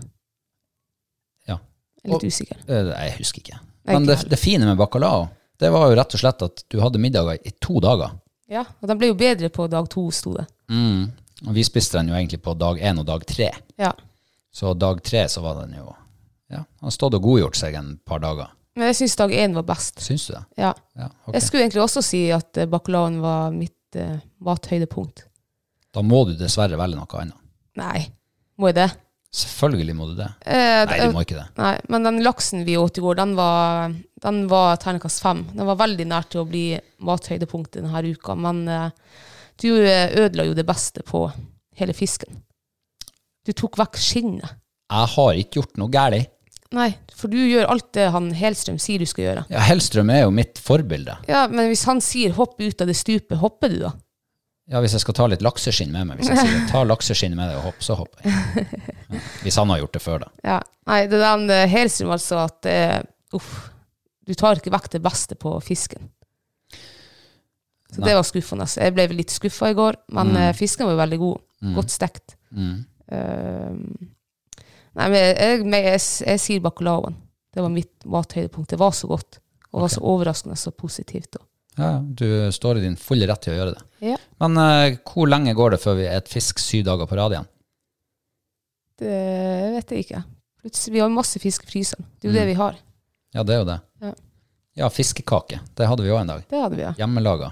B: Ja.
C: Jeg er litt
B: Og-
C: usikker.
B: Eh, Nei, jeg husker ikke.
C: Nei,
B: Men
C: ikke
B: det,
C: heller.
B: det fine med bacalao, det var jo rett og slett at du hadde middager i to dager.
C: Ja, og den ble jo bedre på dag to, sto det.
B: Og vi spiste den jo egentlig på dag én og dag tre.
C: Ja.
B: Så dag tre så var den jo Ja, han har stått og godgjort seg en par dager.
C: Men jeg syns dag én var best.
B: Syns du det?
C: Ja.
B: Ja, ok.
C: Jeg skulle egentlig også si at eh, bacalaoen var mitt eh, mathøydepunkt.
B: Da må du dessverre velge noe annet.
C: Nei, må jeg det?
B: Selvfølgelig må du det.
C: Eh,
B: Nei, du må ikke det.
C: nei, men den laksen vi åt i går, den var, den var terningkast fem. Den var veldig nær til å bli mathøydepunktet denne uka, men eh, du eh, ødela jo det beste på hele fisken. Du tok vekk skinnet.
B: Jeg har ikke gjort noe galt.
C: Nei, for du gjør alt det han Helstrøm sier du skal gjøre.
B: Ja, Hellstrøm er jo mitt forbilde.
C: Ja, men hvis han sier 'hopp ut av det stupet', hopper du da?
B: Ja, Hvis jeg skal ta litt lakseskinn med meg, hvis jeg sier ta lakseskinn med deg og hopp, så hopper jeg. Ja. Hvis han har gjort det før, da.
C: Ja. Nei, det er den eh, Helstrøm altså at eh, uff, du tar ikke vekk det beste på fisken. Så
B: Nei.
C: det var skuffende. altså. Jeg ble vel litt skuffa i går, men eh, fisken var jo veldig god. Godt stekt.
B: Mm.
C: Ehm, nei, men jeg, jeg, men jeg, s- jeg sier bacalaoen. Det var mitt mathøydepunkt. Det var så godt. Og var så overraskende så positivt. Og.
B: Ja, ja, du står i din fulle rett til å gjøre det.
C: Ja.
B: Men eh, hvor lenge går det før vi et fisk syv dager på rad igjen?
C: Det vet jeg ikke. Plutselig, vi har masse fisk i fryseren. Det er jo det vi har.
B: Ja, det er jo det.
C: Ja.
B: Ja, fiskekake. Det hadde vi òg en dag.
C: Det hadde vi, ja.
B: Hjemmelaga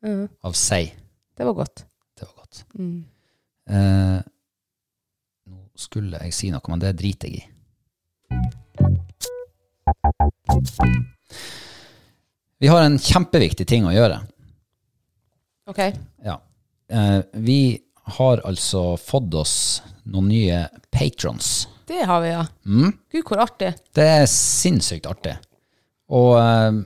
C: Mhm.
B: av sei.
C: Det var godt.
B: Det var godt.
C: Mm.
B: Eh, nå skulle jeg si noe, men det driter jeg i. Vi har en kjempeviktig ting å gjøre.
C: Ok.
B: Ja. Eh, vi har altså fått oss noen nye patrons.
C: Det har vi, ja. Gud, hvor artig.
B: Det er sinnssykt artig. Og eh,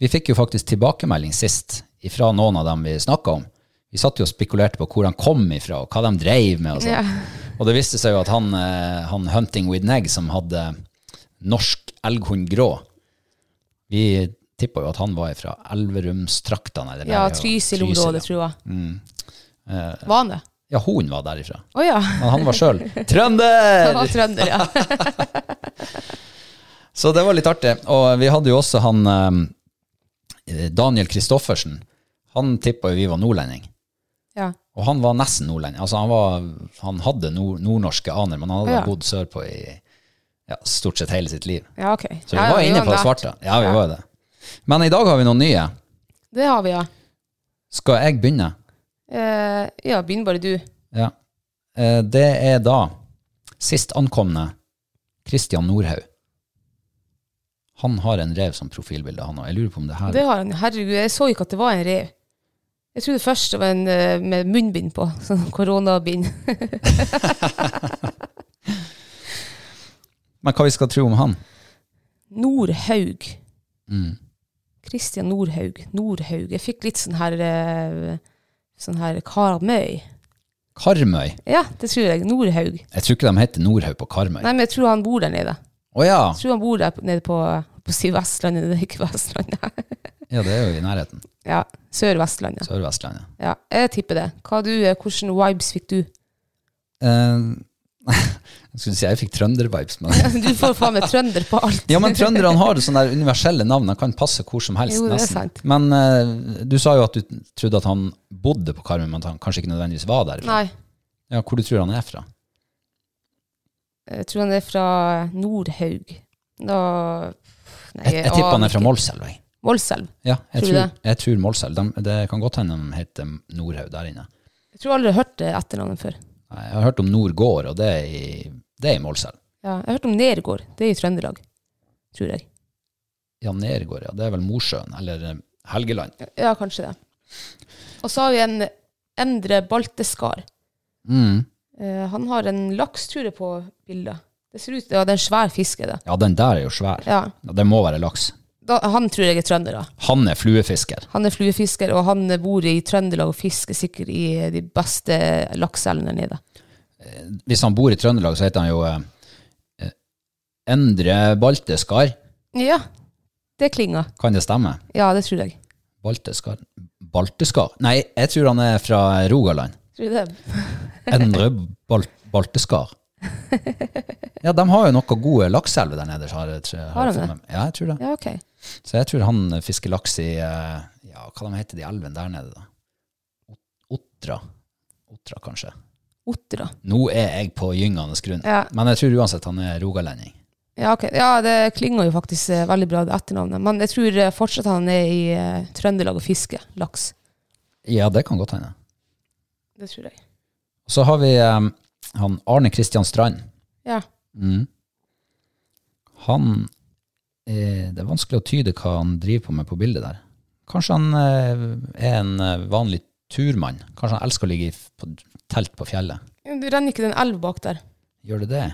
B: vi fikk jo faktisk tilbakemelding sist fra noen av dem vi snakka om. Vi satt jo og spekulerte på hvor han kom ifra, og hva de dreiv med. Og, sånn. og det viste seg jo at han, eh, han Hunting with Neg, som hadde norsk elghund grå Vi tippa jo at han var fra Elverumstraktene. eller der vi
C: Ja,
B: har-
C: Trysil-området,
B: Trysil, Mm. Eh,
C: tror jeg. Var han det?
B: Ja, Ja, hunden var derifra.
C: Å ja.
B: Men han var sjøl
C: Han
B: trønder!
C: var trønder, ja.
B: Så det var litt artig. Og vi hadde jo også han eh, Daniel Kristoffersen. Han tippa jo vi var nordlending.
C: ja.
B: Og han var nesten nordlending. Altså han, var, han hadde nord nordnorske aner, men han hadde
C: Ja.
B: bodd sørpå i ja, stort sett hele sitt liv.
C: Ja, ok.
B: Så vi
C: Ja, ja,
B: var
C: vi
B: inne
C: var
B: på det
C: nært.
B: svarte. Ja, vi var jo det. Men i dag har vi noen nye.
C: Det har vi, ja.
B: Skal jeg begynne?
C: Eh, ja, begynn bare du.
B: Ja. Eh, Det er da sist ankomne Christian Nordhaug. Han har en rev som profilbilde, han òg. Jeg lurer på om det her
C: Det har han. Herregud, jeg så ikke at det var en rev. Jeg trodde først det var en eh, med munnbind på, sånn koronabind.
B: Men hva vi skal tro om han?
C: Nordhaug.
B: Mm.
C: Kristian Nordhaug. Nordhaug. Jeg fikk litt sånn her eh, Sånn her Karmøy.
B: Karmøy?
C: Ja, det tror jeg. Nordhaug.
B: Jeg tror ikke de heter Nordhaug på Karmøy.
C: Nei, men jeg tror han bor der nede.
B: Å ja.
C: Jeg tror han bor der p- nede på, på å si Vestlandet, det er ikke Vestlandet.
B: ja, det er jo i nærheten.
C: Ja, Sør-Vestlandet.
B: Sør-Vestlandet.
C: Ja, jeg tipper det. Hva du, eh, hvordan vibes fikk du?
B: Eh, jeg skulle si jeg fikk trønder-vibes, men
C: Du får faen meg trønder på alt.
B: Ja, men trønderne har sånne der universelle navn. De kan passe hvor som helst.
C: Jo, det er
B: nesten.
C: sant.
B: Men eh, du sa jo at du trodde at han bodde på Karmøy, men at han kanskje ikke nødvendigvis var der.
C: Nei,
B: Ja, hvor du tror han er fra?
C: jeg tror han er fra Nordhaug. Da, nei,
B: Jeg, jeg tipper han er fra Målselv. jeg.
C: Målselv.
B: Ja, jeg
C: Tror
B: tror,
C: du
B: tror, jeg tror Målselv. De, det kan godt hende de heter Nordhaug der inne.
C: Jeg tror aldri jeg har hørt det etternavnet før.
B: Jeg har hørt om Nordgård, og det er i, det er i Målselv.
C: Ja, jeg har hørt om Nergård. Det er i Trøndelag, tror jeg.
B: Ja, Nergård, ja. Det er vel Mosjøen, eller eh, Helgeland.
C: Ja, kanskje det. Og så har vi en Endre Balteskar.
B: Mm.
C: Eh, han har en laks, tror jeg, på bildet. Det ser ut Ja, det er en svær fisk, er det.
B: Ja, den der er jo svær.
C: Ja.
B: Ja, det må være laks.
C: Da, han tror jeg er trønder, da.
B: Han er fluefisker.
C: Han er fluefisker, og han bor i Trøndelag og fisker sikkert i de beste lakseelvene der nede.
B: Hvis han bor i Trøndelag, så heter han jo eh, eh, Endre Balteskar.
C: Ja, det klinger.
B: Kan det stemme?
C: Ja, det tror jeg.
B: Balteskar Balteskar? Nei, jeg tror han er fra Rogaland.
C: Tror du det?
B: Endre Bal Balteskar. Ja, de har jo noen gode lakseelver der nede. Har, jeg- har, jeg
C: Har de
B: fått
C: det?
B: med meg. Ja, jeg tror det.
C: Ja, ok.
B: Så jeg tror han fisker laks i eh, ja, Hva de heter de elvene der nede, da? Ot- Otra? Otra, kanskje.
C: Otter, da.
B: Nå er jeg på gyngende grunn,
C: Ja.
B: men jeg tror uansett han er rogalending.
C: Ja, ok. ja, det klinger jo faktisk eh, veldig bra, det etternavnet. Men jeg tror eh, fortsatt han er i eh, Trøndelag og fisker laks.
B: Ja, det kan godt hende.
C: Det tror jeg.
B: Så har vi eh, han Arne Kristian Strand.
C: Ja.
B: Mm. Han eh, Det er vanskelig å tyde hva han driver på med på bildet der. Kanskje han eh, er en eh, vanlig turmann? Kanskje han elsker å ligge i f- på telt på fjellet?
C: Det renner ikke den elv bak der.
B: Gjør det det?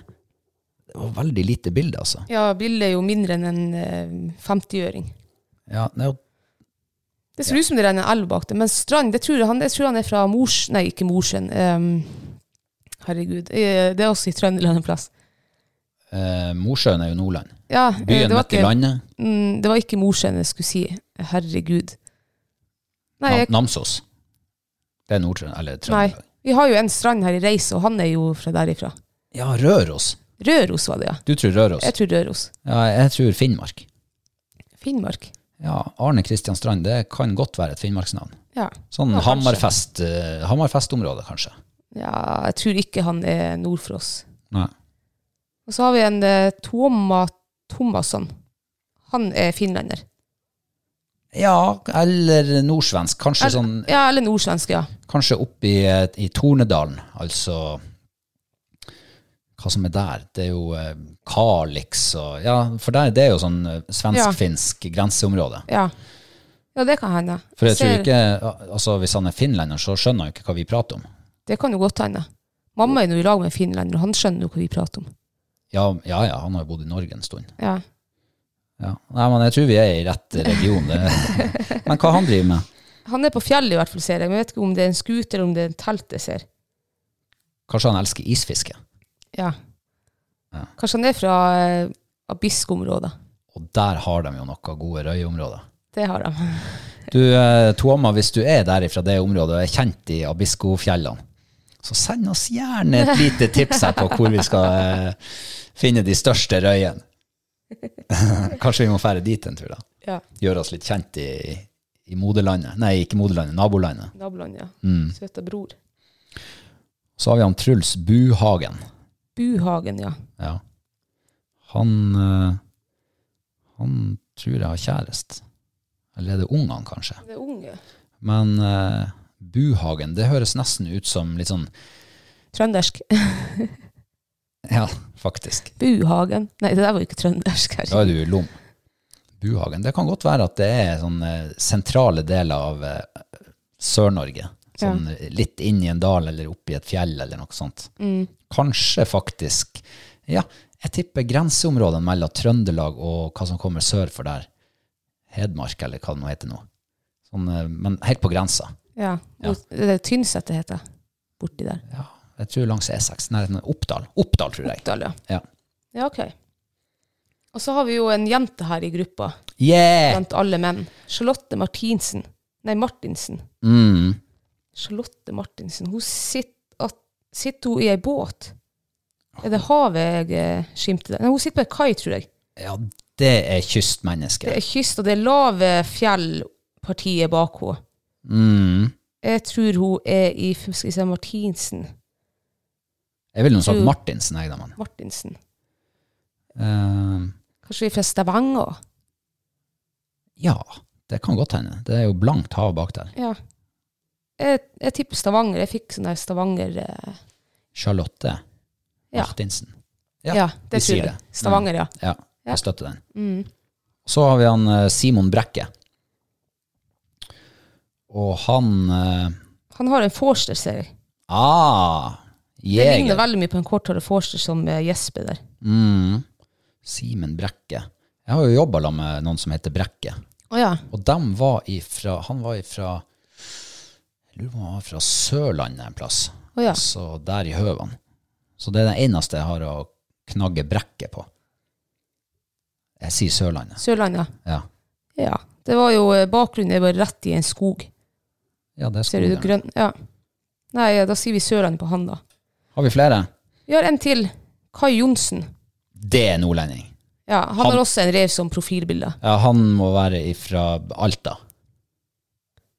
B: Det var veldig lite bilde, altså.
C: Ja, bildet er jo mindre enn en eh, 50-øring.
B: Ja, nei, og-
C: Det ser ut som det renner en elv bak der, men Strand, det tror jeg han, jeg tror han er fra Mors... Nei, ikke Mosjøen. ehm, herregud. eh, Det er også i Trøndelag en plass.
B: eh, Mosjøen er jo Nordland.
C: Ja, eh,
B: Byen
C: det var
B: møtte
C: ikke,
B: landet.
C: mm, det var ikke Mosjøen jeg skulle si. Herregud. Nei,
B: Nam
C: jeg,
B: Namsos. Det er Nord-Trøndelag. Eller
C: nei,
B: Trøndelag.
C: vi har jo en strand her i Reise, og han er jo fra derifra.
B: Ja, Røros.
C: Røros var det, ja.
B: Du tror Røros?
C: Jeg tror Røros.
B: Ja, jeg tror Finnmark.
C: Finnmark.
B: Ja, Arne Kristian Strand, det kan godt være et finnmarksnavn.
C: Ja.
B: Sånn
C: Ja, kanskje.
B: Hammerfest, eh, Hammerfest-område, kanskje.
C: ja, jeg tror ikke han er nord for oss.
B: Nei.
C: Og så har vi en eh, Toma Thomasson. Han er finlender.
B: Ja, eller nordsvensk. Kanskje,
C: Eller-
B: sånn,
C: Ja, eller nordsvensk, ja.
B: kanskje oppe i, eh, i Tornedalen, altså hva som er der? Det er jo eh, Kalix og Ja, for der, det er jo sånn eh, svensk-finsk grenseområde.
C: Ja. ja, det kan hende.
B: For jeg tror
C: Ser-
B: ikke, al- altså Hvis han er finlender, så skjønner han jo ikke hva vi prater om.
C: Det kan jo godt hende. Mamma er nå i lag med en finlender, og han skjønner jo hva vi prater om.
B: Ja, ja, ja han har jo bodd i Norge en stund.
C: Ja.
B: Ja. Nei, men Jeg tror vi er i rett region. Det. Men hva han driver med?
C: Han er på fjellet i hvert fall, ser jeg. Men jeg vet ikke om det er en skute eller om det er en telt jeg ser.
B: Kanskje han elsker isfiske?
C: Ja.
B: Ja.
C: Kanskje han er fra eh, Abisko-området.
B: Og der har de jo noen gode røyeområder.
C: Det har de.
B: Du, eh, Tuama, hvis du er der fra det området og er kjent i Abisko-fjellene, så send oss gjerne et lite tips her på hvor vi skal eh, finne de største røyene. Kanskje vi må fære dit en tur, da.
C: Ja.
B: Gjøre oss litt kjent i, i moderlandet. Nei, ikke moderlandet, nabolandet.
C: Nabolandet, ja.
B: Mm.
C: Søta bror.
B: Så har vi han Truls Buhagen.
C: Buhagen, ja.
B: Ja. Han eh, Han tror jeg har kjæreste. Eller er det ungene, kanskje?
C: Det er unge.
B: Men eh, Buhagen, det høres nesten ut som litt sånn
C: Trøndersk.
B: Ja, faktisk.
C: Buhagen. Nei, det der var jo ikke trøndersk.
B: Da
C: Her.
B: er du i lom. Buhagen. Det kan godt være at det er sånne sentrale deler av eh, Sør-Norge. Sånn litt inn i en dal eller opp i et fjell eller noe sånt. Kanskje faktisk Ja, jeg tipper grenseområdene mellom Trøndelag og hva som kommer sør for der. Hedmark, eller hva det nå heter nå. Sånn, eh, men helt på grensa.
C: Ja.
B: Ja.
C: Det er Tynset det heter. Borti der.
B: Ja, jeg tror langs E E6. Nei, Oppdal. Oppdal, tror jeg.
C: Oppdal, ja.
B: Ja.
C: Ja, ok. Og så har vi jo en jente her i gruppa,
B: Eh. Yeah!
C: blant alle menn. Charlotte Martinsen. Nei, Martinsen.
B: Mm.
C: Charlotte Martinsen. Hun sitter, at, sitter hun i ei båt? Er det havet jeg eh, skimter der? Nei, hun sitter på ei kai, tror jeg.
B: Ja, det er
C: Det
B: kystmennesker.
C: er kyst, og det er lave fjellpartiet bak henne.
B: Mm.
C: Jeg tror hun er i skal vi se, Martinsen.
B: Jeg ville nå sagt
C: Du-
B: Martinsen, jeg, da, men
C: Martinsen.
B: eh,
C: Kanskje vi er fra Stavanger?
B: Ja, det kan godt hende. Det er jo blankt hav bak der.
C: Ja. Jeg, jeg tipper Stavanger. Jeg fikk sånn der Stavanger... Eh,
B: Charlotte
C: Ja.
B: Martinsen.
C: Ja,
B: vi
C: det tror
B: sier
C: jeg.
B: det. Mm.
C: Stavanger, ja.
B: Ja,
C: Ja.
B: jeg støtter den.
C: Mm.
B: Så har vi han eh, Simon Brekke. Og han eh,
C: Han har en forster, ser jeg.
B: Ah!
C: Det ligner
B: Jeger.
C: veldig mye på en korthåret forster som eh, Jesper der.
B: Mm. Simen Brekke. Jeg har jo jobba med noen som heter Brekke.
C: Å ja.
B: Og dem var ifra Han var ifra Jeg lurer på om han var fra Sørlandet en plass.
C: Å ja.
B: Altså der i høvene. Så det er det eneste jeg har å knagge brekket på. Jeg sier Sørlandet.
C: Sørlandet.
B: Ja,
C: Ja. Det var jo eh, bakgrunnen er bare rett i en skog.
B: ja det er
C: Ser du det
B: skogen.
C: grønn? Ja. Nei, ja, da sier vi Sørlandet på han, da.
B: Har vi flere?
C: Vi har en til. Kai Johnsen.
B: Det er nordlending.
C: Ja, han,
B: Han-
C: har også en rev som profilbilde.
B: Ja, han må være ifra Alta.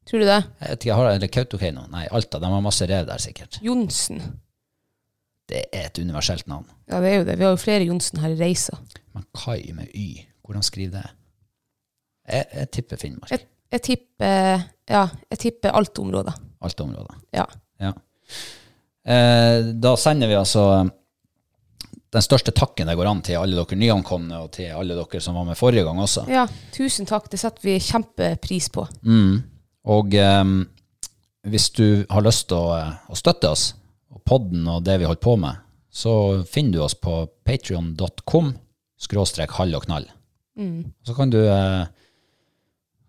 C: Tror du det?
B: Jeg vet ikke, har Eller Kautokeino? Nei, Alta. De har masse rev der, sikkert.
C: Johnsen.
B: Det er et universelt navn.
C: Ja, det er jo det. Vi har jo flere Johnsen her i reisa.
B: Men Kai med Y, hvordan skriver det? Jeg, jeg tipper
C: Jeg,
B: Finnmark.
C: jeg tipper Ja, jeg tipper Alta-området.
B: Alta-området.
C: Ja.
B: Ja. Eh, da sender vi altså den største takken det går an til alle dere nyankomne, og til alle dere som var med forrige gang også.
C: ja. Tusen takk. Det setter vi kjempepris på.
B: Mm. Og eh, hvis du har lyst til å, eh, å støtte oss, og podden og det vi holder på med, så finner du oss på patreon.com skråstrek halv og knall.
C: Mm.
B: Så kan du, eh,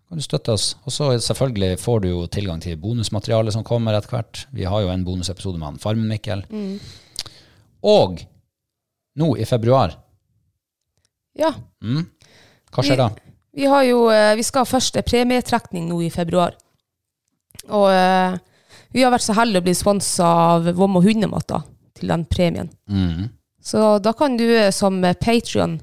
B: kan du støtte oss. Og så selvfølgelig får du jo tilgang til bonusmateriale som kommer etter hvert. Vi har jo en bonusepisode med han Farmen-Mikkel.
C: Mm.
B: Og nå i februar,
C: Ja.
B: mm, hva skjer da?
C: Vi, har jo, eh, vi skal ha første premietrekning nå i februar. Og eh, vi har vært så heldige å bli sponsa av Vom og Hundemat da, til den premien.
B: Mm.
C: Så da kan du eh, som Patrion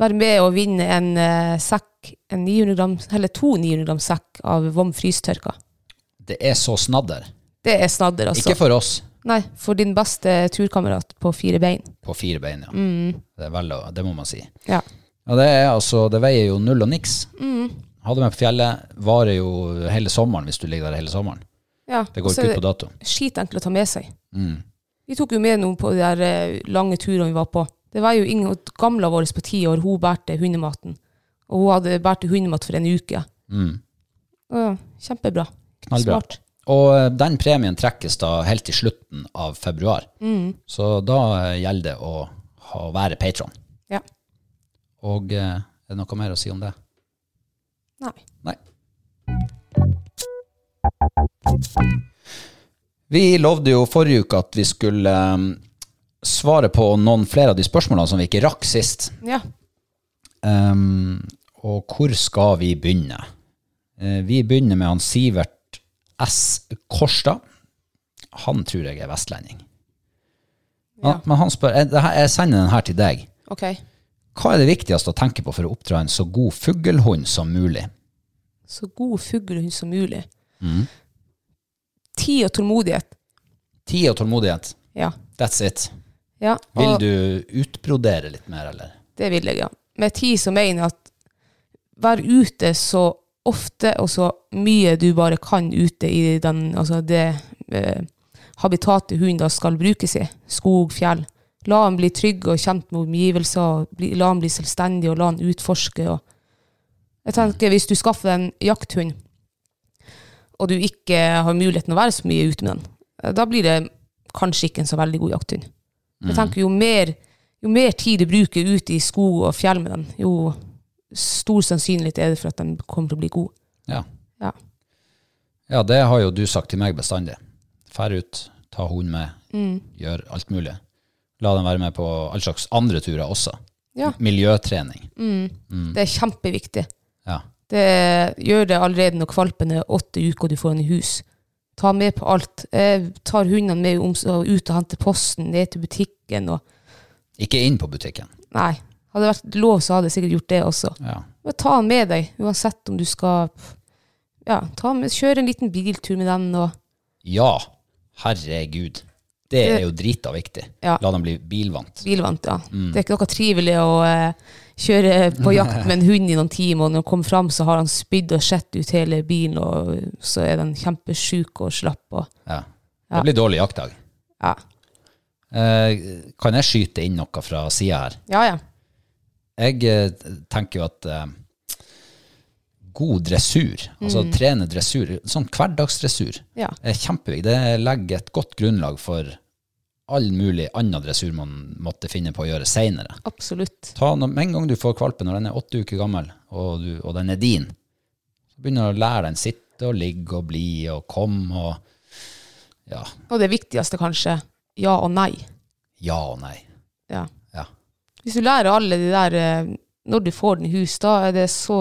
C: være med og vinne en eh, sekk, en 900 gram, eller to 900 gram sekk av Vom frystørka.
B: Det er så snadder.
C: Det er snadder, altså.
B: Ikke for oss.
C: Nei, for din beste turkamerat på fire bein.
B: På fire bein, ja.
C: Mm.
B: Det, er vel, å- det må man si.
C: Ja.
B: Ja, det, er, altså, det veier jo null og niks. Hadde meg på fjellet, varer jo hele sommeren hvis du ligger der hele sommeren.
C: ja.
B: Det går ikke ut på dato. Mm.
C: Skitenkelt å ta med seg. Vi Vi tok jo med noen på de der eh, lange turene vi var på. Det var jo ingen gamla vår på ti år, hun bærte hundematen. Og hun hadde bært hundemat for en uke. Ja, kjempebra.
B: Mm. Knallbra.
C: Smart.
B: Og eh, den premien trekkes da helt til slutten av februar. Så da eh, gjelder det å ha, være patron.
C: Ja.
B: Og eh, er det noe mer å si om det?
C: Nei.
B: Nei. Vi lovde jo forrige uke at vi skulle eh, svare på noen flere av de spørsmålene som vi ikke rakk sist.
C: Ja.
B: Ehm, og hvor skal vi begynne? Eh, vi begynner med han Sivert S. Kårstad. Han tror jeg er vestlending. Ja.
C: Ja.
B: Men han spør, eh, det her- jeg sender den her til deg.
C: Ok.
B: Hva er det viktigste å tenke på for å oppdra en så god fuglehund som mulig?
C: Så god fuglehund som mulig.
B: Mm.
C: Tid og tålmodighet.
B: Tid og tålmodighet.
C: Ja.
B: That's it.
C: ja.
B: Vil
C: og-
B: du utbrodere litt mer, eller?
C: Det vil jeg, ja. Med tid så mener jeg at vær ute så ofte og så mye du bare kan ute i den, altså det eh, habitatet hunden da skal brukes i. Skog, fjell. La han bli trygg og kjent med omgivelser. og Bli, la han bli selvstendig og la han utforske. Og jeg tenker Hvis du skaffer deg en jakthund, og du ikke har muligheten å være så mye ute med den, eh, da blir det kanskje ikke en så veldig god jakthund. Jeg tenker jo mer, jo mer tid du bruker ute i skog og fjell med den, jo stor sannsynlighet er det for at den kommer til å bli god.
B: Ja.
C: Ja.
B: Ja, det har jo du sagt til meg bestandig. Fær ut, ta hunden med, gjør alt mulig. La den være med på all slags andre turer også.
C: Ja.
B: Miljøtrening.
C: Det er kjempeviktig.
B: Ja.
C: Det gjør det allerede når kvalpen er åtte uker og du får den i hus. Ta med på alt. Jeg tar hundene med om- og ut og henter posten, ned til butikken og
B: Ikke inn på butikken.
C: Nei. Hadde det vært lov, så hadde jeg sikkert gjort det også.
B: Ja.
C: Men ta den med deg, uansett om du skal ja, ta med, Kjøre en liten biltur med den og
B: ja, herregud. Det er jo drita viktig.
C: Ja.
B: La dem bli bilvant.
C: bilvant, ja. Det er ikke noe trivelig å eh, kjøre på jakt med en hund i noen timer, og når han kommer fram, så har han spydd og sett ut hele bilen, og så er den kjempesjuk og slapp. Og,
B: Ja. Det blir dårlig jaktdag.
C: ja.
B: Eh, kan jeg skyte inn noe fra sida her?
C: ja, ja.
B: Jeg eh, tenker jo at eh, god dressur, altså trene dressur, sånn hverdagsdressur,
C: Ja.
B: er kjempeviktig. Det legger et godt grunnlag for all mulig annen dressur man måtte finne på å gjøre seinere.
C: Absolutt.
B: Med en gang du får valpen, når den er åtte uker gammel, og, du, og den er din, så begynner du å lære den sitte og ligge og bli og komme og ja,
C: Og det viktigste kanskje, ja og nei.
B: ja og nei.
C: Ja.
B: Ja.
C: Hvis du lærer alle de der eh, når du får den i hus, da er det så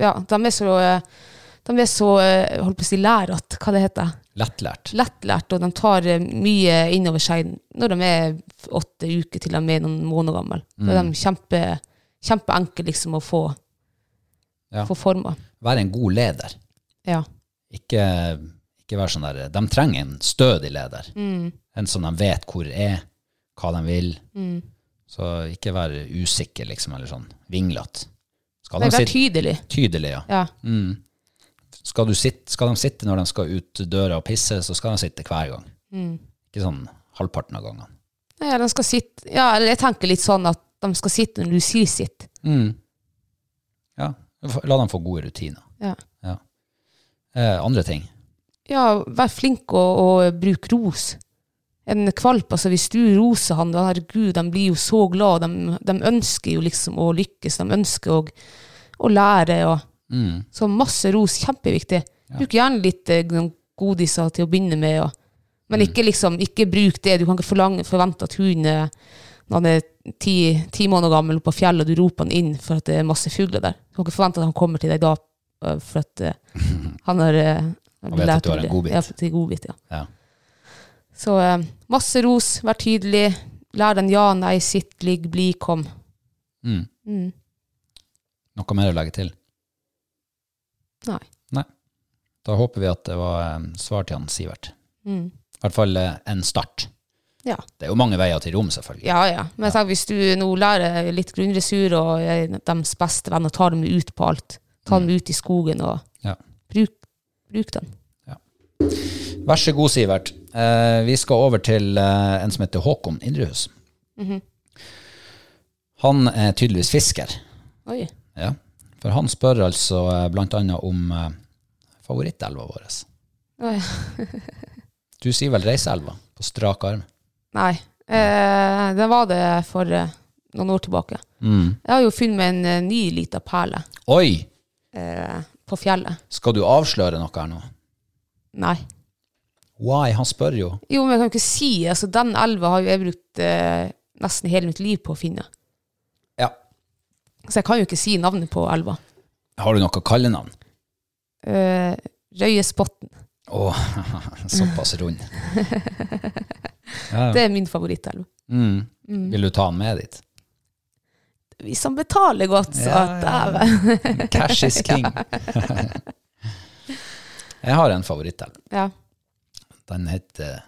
C: Ja, de er så eh, De er så eh, Holdt på å si lærat, hva det heter.
B: Lettlært.
C: Lettlært, og de tar eh, mye innover seg når de er åtte uker til de er noen måneder gamle. Da
B: Mm.
C: er de kjempe, kjempeenkle liksom, å få,
B: Ja.
C: få forma.
B: Være en god leder.
C: Ja.
B: ikke, ikke være sånn der De trenger en stødig leder. En som de vet hvor er, hva de vil. Så ikke være usikker, liksom, eller sånn vinglete. Skal de
C: Det er
B: sitte
C: tydelig.
B: tydelig, ja. Mm.
C: Ja.
B: Skal, du sitte, skal de sitte når de skal ut døra og pisse, så skal de sitte hver gang. Ikke sånn halvparten av gangene.
C: Nei, de skal sitte, ja, eller jeg tenker litt sånn at de skal sitte når du sier sitt.
B: Mm. Ja. La dem få gode rutiner.
C: Ja,
B: Ja. Eh, andre ting.
C: ja vær flink og, og bruk ros. En kvalp, altså hvis du roser han, da, herregud, de blir jo så glad. De, de ønsker jo liksom å lykkes, de ønsker å, å lære. og
B: Mm.
C: Så masse ros, kjempeviktig. Bruk gjerne litt eh, noen godiser til å begynne med, og, men
B: Mm.
C: ikke, liksom, ikke bruk det. Du kan ikke forlange, forvente at hunden er- når han er ti, ti måneder gammel på fjellet, og du roper han inn for at det er masse fugler der. Du kan ikke forvente at han kommer til deg da eh, for at eh, han har eh,
B: vet at
C: lært
B: du har en
C: om det.
B: godbit.
C: Ja, til godbit, ja.
B: Ja.
C: Så eh, masse ros, vær tydelig. Lær den ja, nei, sitt, ligg, bli, kom.
B: Mm.
C: Mm.
B: Noe mer å legge til?
C: Nei.
B: Nei. Da håper vi at det var eh, svar til han Sivert.
C: Mm.
B: I hvert fall eh, en start.
C: Ja.
B: Det er jo mange veier til Rom, selvfølgelig.
C: Ja, ja. Men jeg tenker, hvis du nå lærer litt grunnressur og er deres beste venn, og tar dem ut på alt, ta dem ut i skogen og
B: Ja.
C: bruk, bruk den.
B: Vær så god, Sivert. Eh, vi skal over til eh, en som heter Håkon Indrehus.
C: Mm-hmm.
B: Han er tydeligvis fisker.
C: Oi.
B: Ja. For han spør altså eh, blant annet om eh, favorittelva vår.
C: Oi.
B: Du sier vel Reiseelva på strak arm?
C: Nei. Eh, det var det for eh, noen år tilbake. Jeg har jo funnet meg en eh, ny lita perle
B: Oi!
C: eh, på fjellet.
B: Skal du avsløre noe her nå?
C: Nei.
B: Why? Han spør jo.
C: Jo, men jeg kan jo ikke si altså, Den elva har jo jeg brukt eh, nesten hele mitt liv på å finne.
B: Ja.
C: Så jeg kan jo ikke si navnet på elva.
B: Har du noe kallenavn?
C: Eh, Røyespotten.
B: Å, såpass rund. Ja, ja.
C: Det er min favorittelv.
B: Mm. Vil du ta han med dit?
C: Hvis han betaler godt, så
B: Ja, ja, ja.
C: dæven.
B: Cash is king. Jeg har en favorittelv.
C: Ja.
B: Den heter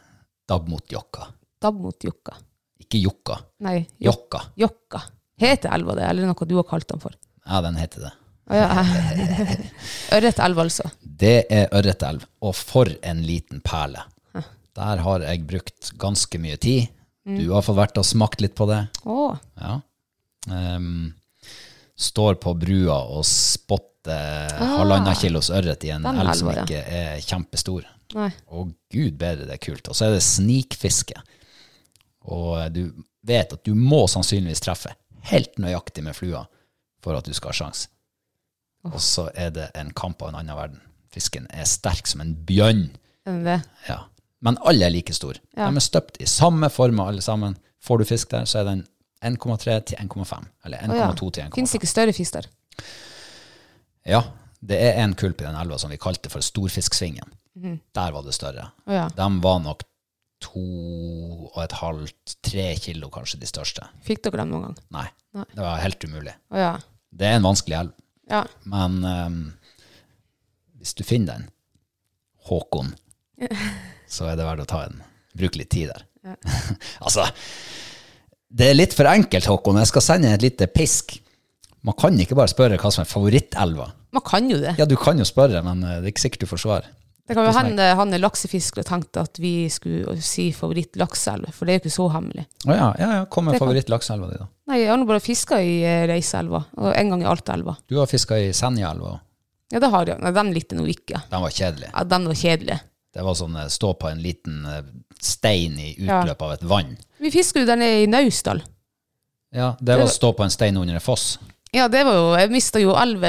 B: Dabmotjokka.
C: Dab mot Jokka.
B: Ikke Jokka.
C: Nei, Jok-
B: Jokka.
C: Jokka. Heter elva det, eller noe du har kalt den for?
B: Ja, den heter det.
C: Å, ja. Ørretelv, altså.
B: Det er Ørretelv, og for en liten perle. Der har jeg brukt ganske mye tid. Du
C: Mm.
B: har fått vært og smakt litt på det.
C: Å,
B: Ja. Ehm, står på brua og spotter halvannen kilos ørret i en
C: den
B: elv som
C: elva, ja.
B: ikke er kjempestor.
C: nei.
B: Å gud bedre, det er kult. Og så er det snikfiske. Og eh, du vet at du må sannsynligvis treffe helt nøyaktig med flua for at du skal ha sjans. Og så er det en kamp av en annen verden. Fisken er sterk som en bjørn.
C: Den er det.
B: Ja. Men alle er like store. De er støpt i samme former alle sammen. Får du fisk der, så er den 1,3 til 1,5. Eller 1,2
C: Å, ja.
B: til 1,5.
C: Fins ikke større fisk der?
B: Ja, det er en kulp i den elva som vi kalte for Storfisksvingen.
C: Mhm.
B: Der var det større.
C: Å, ja.
B: De var nok to og et halvt, tre kilo kanskje de største.
C: Fikk dere dem noen gang?
B: Nei,
C: Nei.
B: det var helt umulig.
C: Å ja.
B: Det er en vanskelig elv,
C: ja.
B: men ehm, hvis du finner den, Håkon, så er det verdt å ta en. Bruke litt tid der. altså, det er litt for enkelt, Håkon. Jeg skal sende et lite pisk. Man kan ikke bare spørre hva som er favorittelva.
C: Man kan jo det.
B: Ja, du kan jo spørre, men eh, det er ikke sikkert du får svar.
C: Det kan jo
B: Hvordan er-
C: hende han er laksefisker og tenkte at vi skulle si favorittlakseelv, for det er jo ikke så hemmelig.
B: Å ja, ja, ja. Kom med
C: Det kan-
B: favorittlakseelva di, da.
C: Nei, jeg har nå bare fiska i eh, Reiseelva, og en gang i Altaelva.
B: Du har fiska i Senjaelva, og
C: Ja, det har jeg. Nei, den likte jeg nå ikke.
B: den var kjedelig.
C: Ja, den var kjedelig.
B: Det var sånn eh, stå på en liten eh, stein i utløp av et vann.
C: Vi fisker jo der nede i Naustdal.
B: Ja, det var stå på en stein under en foss.
C: Ja, det var jo Jeg mista jo elleve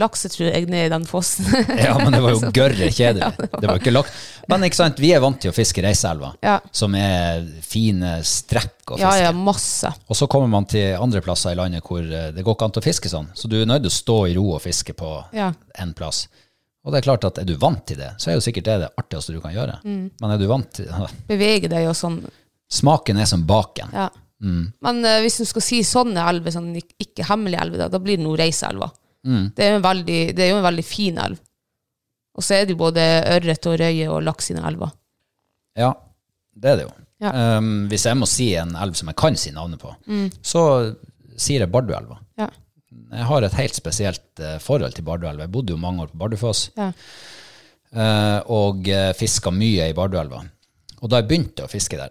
C: lakser, tror jeg, ned i den fossen.
B: Ja, men det var jo gørre kjedelig. Det var ikke laks. Men ikke sant, vi er vant til å fiske i Reiseelva,
C: Ja.
B: som er fine strekk å
C: ja,
B: fiske.
C: ja, masse.
B: Og så kommer man til andre plasser i landet hvor eh, det går ikke an til å fiske sånn. Så du er nødt til å stå i ro og fiske på
C: Ja.
B: en plass. Og det er klart at er du vant til det, så er jo sikkert det det artigste du kan gjøre. Men er du vant til
C: Bevege deg og sånn.
B: Smaken er som baken.
C: Ja. Men eh, hvis du skal si sånne elver, sånn ik- ikke hemmelige elver, da, da blir det nå Reiseelva.
B: Mm.
C: Det, er jo en veldig, det er jo en veldig fin elv. Og så er det jo både ørret og røye og laks i den elva.
B: Ja, det er det jo.
C: Ja. Mm.
B: Um, hvis jeg må si en elv som jeg kan si navnet på, så sier jeg Barduelva.
C: Ja.
B: Jeg har et helt spesielt eh, forhold til Barduelva. Jeg bodde jo mange år på Bardufoss.
C: Ja.
B: eh, og uh, fiska mye i Barduelva. Og da jeg begynte å fiske der,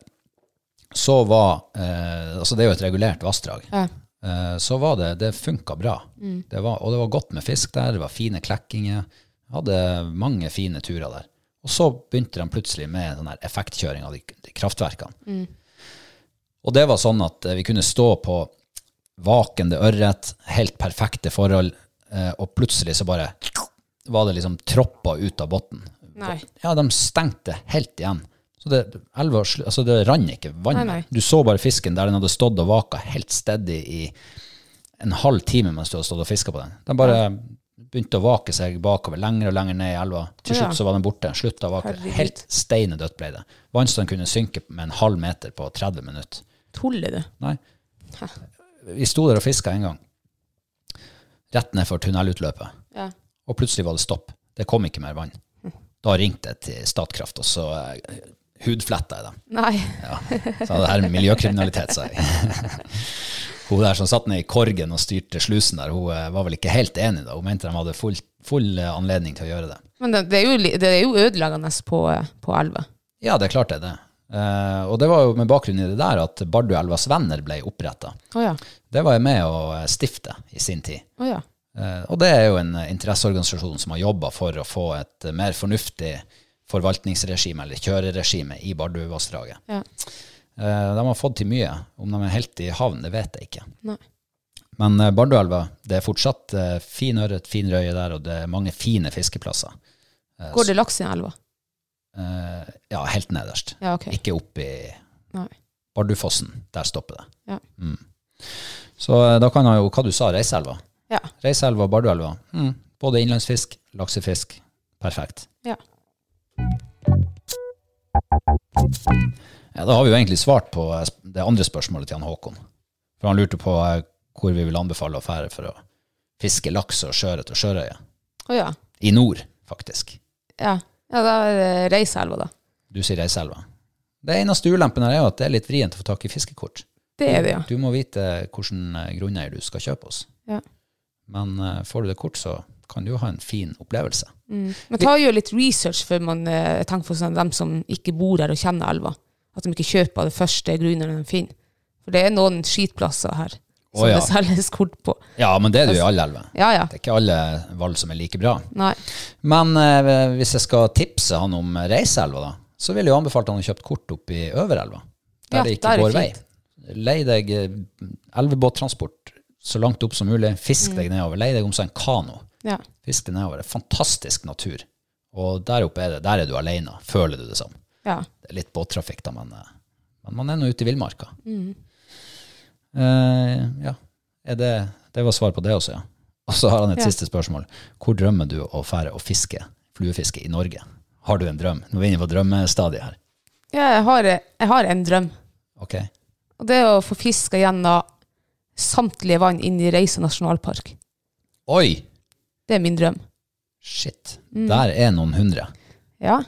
B: så var eh, Altså, det er jo et regulert vassdrag.
C: Ja. Mm.
B: Eh, så var det Det funka bra. Det var, og det var godt med fisk der, det var fine klekkinger. Jeg hadde mange fine turer der. Og så begynte de plutselig med sånn her effektkjøring av de, de kraftverkene.
C: Mm.
B: Og det var sånn at eh, vi kunne stå på vakende ørret, helt perfekte forhold, eh, og plutselig så bare var det liksom tropper ut av bunnen.
C: Nei.
B: Ja, de stengte helt igjen. Så det, elva, slu- altså det rann ikke vann.
C: Nei, nei.
B: Du så bare fisken der den hadde stått og vaka helt steady i en halv time mens du hadde stått og fiska på den. Den bare begynte å vake seg bakover lenger og lenger ned i elva. Til
C: Å, ja.
B: slutt så var den borte. Slutta å vake.
C: Herregud.
B: Helt steinedødt ble det. Vannstanden kunne synke med en halv meter på 30 minutter.
C: Tuller du?
B: Nei. Vi sto der og fiska en gang. Rett ned for tunnelutløpet.
C: Ja.
B: Og plutselig var det stopp. Det kom ikke mer vann.
C: Hm.
B: Da ringte jeg til Statkraft, og så eh, hudfletta jeg dem.
C: Nei.
B: Ja. Så det her er miljøkriminalitet, sa jeg. Hun der som satt ned i korgen og styrte slusen der, hun eh, var vel ikke helt enig da. Hun mente de hadde full, full eh, anledning til å gjøre det.
C: Men det, det, er, jo, li- det er jo ødeleggende på, eh, på elver.
B: Ja, det er klart det er det. Eh, og det var jo med bakgrunn i det der at Barduelvas venner ble oppretta.
C: Å ja.
B: Det var jeg med å eh, stifte i sin tid.
C: Å ja.
B: Eh, Og det er jo en eh, interesseorganisasjon som har jobba for å få et eh, mer fornuftig forvaltningsregime, eller kjøreregime, i Barduvassdraget.
C: Ja.
B: Eh, De har fått til mye. Om de er helt i havn, det vet jeg ikke.
C: Nei.
B: Men eh, Barduelva, det er fortsatt eh, fin ørret, fin røye der, og det er mange fine fiskeplasser.
C: Går det laks i den elva?
B: Eh, Ja, helt nederst.
C: Ja, ok.
B: Ikke opp i
C: Nei.
B: Bardufossen. Der stopper det.
C: Ja.
B: Mm. Så eh, da kan han jo, hva du sa, Reiselva?
C: Ja.
B: Reiselva og Barduelva. Mm. Både innlandsfisk, laksefisk. Perfekt.
C: Ja.
B: Ja, da har vi jo egentlig svart på eh, sp- det andre spørsmålet til han Håkon. For han lurte på eh, hvor vi vil anbefale å fære for å fiske laks og sjøørret og sjørøye.
C: Å ja.
B: I nord, faktisk.
C: Ja. ja, da er det Reiselva, da.
B: Du sier Reiselva. Det eneste ulempen her er jo at det er litt vrient å få tak i fiskekort.
C: Det er det, ja.
B: Du må vite hvilken eh, grunneier du skal kjøpe hos.
C: Ja.
B: Men eh, får du det kort, så kan du jo ha en fin opplevelse.
C: Man tar jo litt research før man eh, tenker på sånn, dem som ikke bor her og kjenner elva. At de ikke kjøper det første grunnene de finner. For det er noen skitplasser her som
B: Å, ja.
C: det selges kort på.
B: Ja, men det er du
C: Altså-
B: i alle elver.
C: Ja, ja.
B: Det er ikke alle valg som er like bra.
C: Nei.
B: Men eh, hvis jeg skal tipse han om Reiselva, da, så ville jeg jo anbefalt han å kjøpe kort opp i Øverelva, der
C: Ja,
B: det ikke
C: der er
B: går vei.
C: fint.
B: Lei deg eh, elvebåttransport så langt opp som mulig.
C: Mm.
B: Fisk deg nedover. Lei deg om seg en kano.
C: Ja.
B: Fisk deg nedover. Det er Fantastisk natur. Og der oppe er det, der er du alene, føler du det som.
C: ja.
B: Det er litt båttrafikk, da, men, eh, men man er nå ute i villmarka.
C: Mm.
B: Eh, ja. Er det, det var svar på det også, ja. Og så har han et
C: Ja.
B: siste spørsmål. Hvor drømmer du å fære og fiske fluefiske i Norge? Har du en drøm? Nå er vi inne på drømmestadiet her.
C: ja jeg, har, jeg har en drøm.
B: Ok.
C: Og det er å få fiska gjennom samtlige vann inn i Reisa nasjonalpark.
B: Oi!
C: Det er min drøm.
B: Shit.
C: Mm.
B: Der er noen hundre.
C: Ja.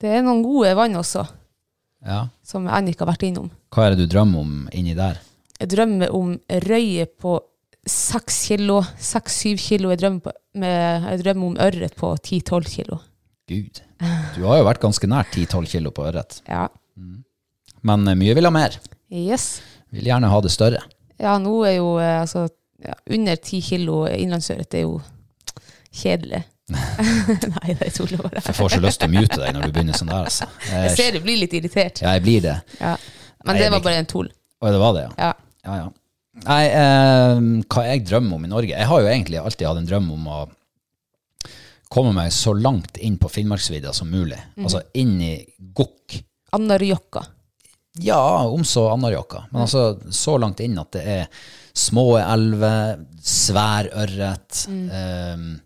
C: Det er noen gode vann også,
B: Ja.
C: som jeg ennå ikke har vært innom.
B: Hva er det du drømmer om inni der?
C: Jeg drømmer om røye på seks kilo, seks-syv kilo. Jeg drømmer, på, med, jeg drømmer om ørret på ti-tolv kilo.
B: Gud. Du har jo vært ganske nær 10-12 kilo på ørret.
C: Ja.
B: Men eh, mye vil ha mer.
C: Yes.
B: Vil gjerne ha det større.
C: Ja, nå er jo eh, altså ja, Under ti kilo innlandsørret er jo kjedelig. Nei, det er tull å være.
B: Jeg får så lyst til å mute deg når du begynner sånn der, altså.
C: Jeg
B: Jeg,
C: ser du blir litt irritert.
B: ja, jeg blir det.
C: Ja.
B: Nei,
C: Men det
B: jeg
C: var
B: liker-
C: bare en tull.
B: Og det var det, ja.
C: Ja.
B: Ja, ja. Nei, eh, hva jeg drømmer om i Norge Jeg har jo egentlig alltid hatt en drøm om å komme meg så langt inn på Finnmarksvidda som mulig.
C: Mhm.
B: Altså inn i Gokk.
C: Anarjokka.
B: Ja, om så Anárjohka.
C: Mhm.
B: Men altså så langt inn at det er små elver, svær ørret
C: Mhm.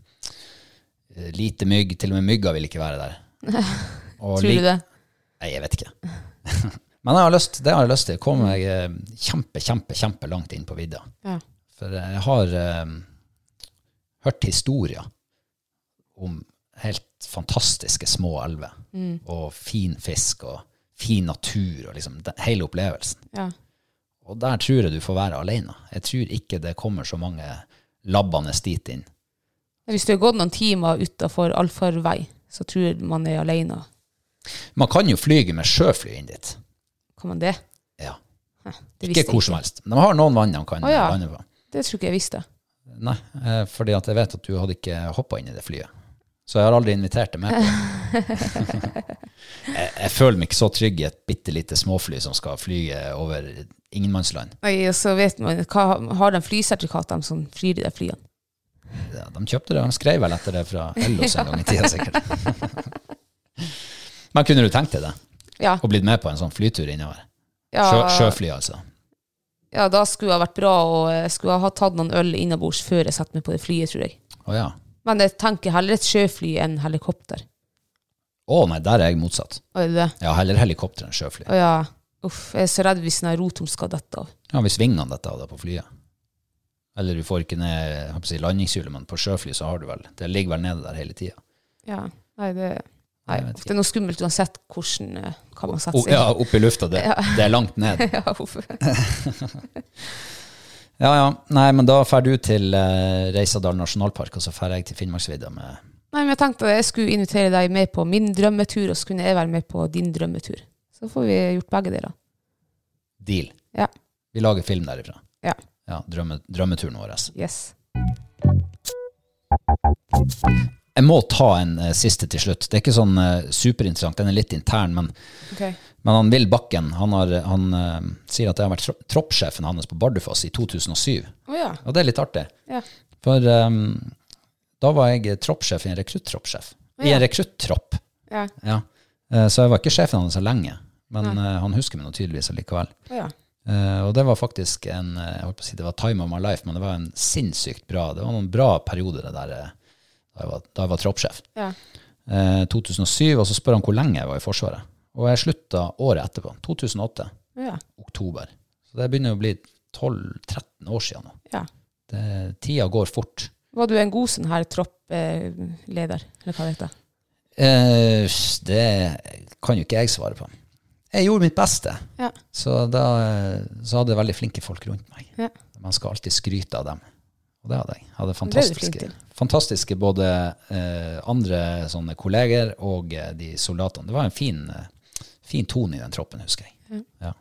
B: eh, Lite mygg. Til og med mygga vil ikke være der. Og
C: Tror
B: lik-
C: du det?
B: Nei, jeg vet ikke. Men jeg har lyst, det har jeg lyst til. Komme meg eh, kjempe, kjempe, kjempe langt inn på vidda.
C: Ja.
B: For jeg har eh, hørt historier om helt fantastiske små elver,
C: Mm.
B: og fin fisk, og fin natur, og liksom den, hele opplevelsen.
C: Ja.
B: Og der tror jeg du får være alene. Jeg tror ikke det kommer så mange labbende dit inn.
C: Hvis du har gått noen timer utafor allfarvei, så tror man er aleine.
B: Man kan jo flyge med sjøfly inn dit.
C: Kan man det?
B: Ja.
C: Hæ, det visste
B: Ikke
C: jeg
B: hvor som helst. Men de har noen vann de kan
C: Å, ja.
B: lande på.
C: Det tror ikke jeg visste.
B: Nei, eh, fordi at jeg vet at du hadde ikke hoppa inn i det flyet. Så jeg har aldri invitert deg med på det. jeg, jeg føler meg ikke så trygg i et bitte lite småfly som skal flyge over ingenmannsland.
C: Nei, og så vet man, hva, Har de flysertifikat, de som flyr i de flyene?
B: Ja, De kjøpte det, de skrev vel etter det fra Ellos en gang i tida, sikkert. Men kunne du tenkt deg det?
C: Ja,
B: Og blitt med på en sånn flytur innover?
C: ja,
B: Sjø, sjøfly, altså.
C: ja, da skulle det ha vært bra, og jeg skulle ha tatt noen øl innabords før jeg setter meg på det flyet, tror jeg.
B: Å ja.
C: Men jeg tenker heller et sjøfly enn helikopter.
B: Å nei, der er jeg motsatt.
C: Å, er det det?
B: Ja, heller helikopter enn sjøfly.
C: Å ja. Uff, jeg er så redd hvis den rotom skal dette av.
B: Ja, hvis vingene dette av deg på flyet. Eller du får ikke ned jeg holdt på å si, landingshjulet, men på sjøfly så har du vel Det ligger vel nede der hele tida.
C: Ja, nei, det, nei,
B: Jeg vet
C: det er noe skummelt uansett hvordan, eh, hva man setter
B: Oh,
C: seg i.
B: ja, opp i lufta. Det, det er langt ned.
C: Ja, uff.
B: Ja, ja. Nei, men da drar du til eh, Reisadal nasjonalpark, og så drar jeg til Finnmarksvidda med
C: Nei, men jeg tenkte at jeg skulle invitere deg med på min drømmetur, og så kunne jeg være med på din drømmetur. Så får vi gjort begge deler.
B: Deal.
C: Ja.
B: Vi lager film derifra.
C: Ja.
B: Ja, drømme, drømmeturen vår. altså.
C: Yes.
B: Jeg må ta en eh, siste til slutt. Det er ikke sånn eh, superinteressant, den er litt intern, men,
C: Ok.
B: men han Will Bakken han har, han, eh, sier at jeg har vært tro- troppssjefen hans på Bardufoss i 2007.
C: Å ja.
B: Og det er litt artig.
C: Ja.
B: For ehm, da var jeg troppssjef i en rekruttroppssjef. I en rekruttropp.
C: Ja.
B: Ja. Eh, Så jeg var ikke sjefen hans så lenge, men eh, han husker meg nå tydeligvis allikevel.
C: Å ja.
B: Eh, og det var faktisk en eh, jeg holdt på å si det var time of my life, men det var en sinnssykt bra det var noen bra perioder det der, eh, da jeg var, da jeg var troppssjef.
C: Ja.
B: Eh, 2007, og så spør han hvor lenge jeg var i Forsvaret. Og jeg slutta året etterpå. 2008.
C: Å ja.
B: Oktober. Så det begynner å bli 12-13 år siden nå.
C: ja.
B: Det, tida går fort.
C: Var du en god sånn her troppleder, eller hva det heter?
B: Eh, det kan jo ikke jeg svare på. Jeg gjorde mitt beste.
C: Ja.
B: Så da eh, så hadde jeg veldig flinke folk rundt meg.
C: Ja.
B: Man skal alltid skryte av dem. Og det hadde jeg. Jeg Hadde
C: Det er du flink
B: fantastiske,
C: til.
B: fantastiske både eh, andre sånne kolleger og eh, de soldatene. Det var en fin, eh, fin tone i den troppen, husker jeg. Ja.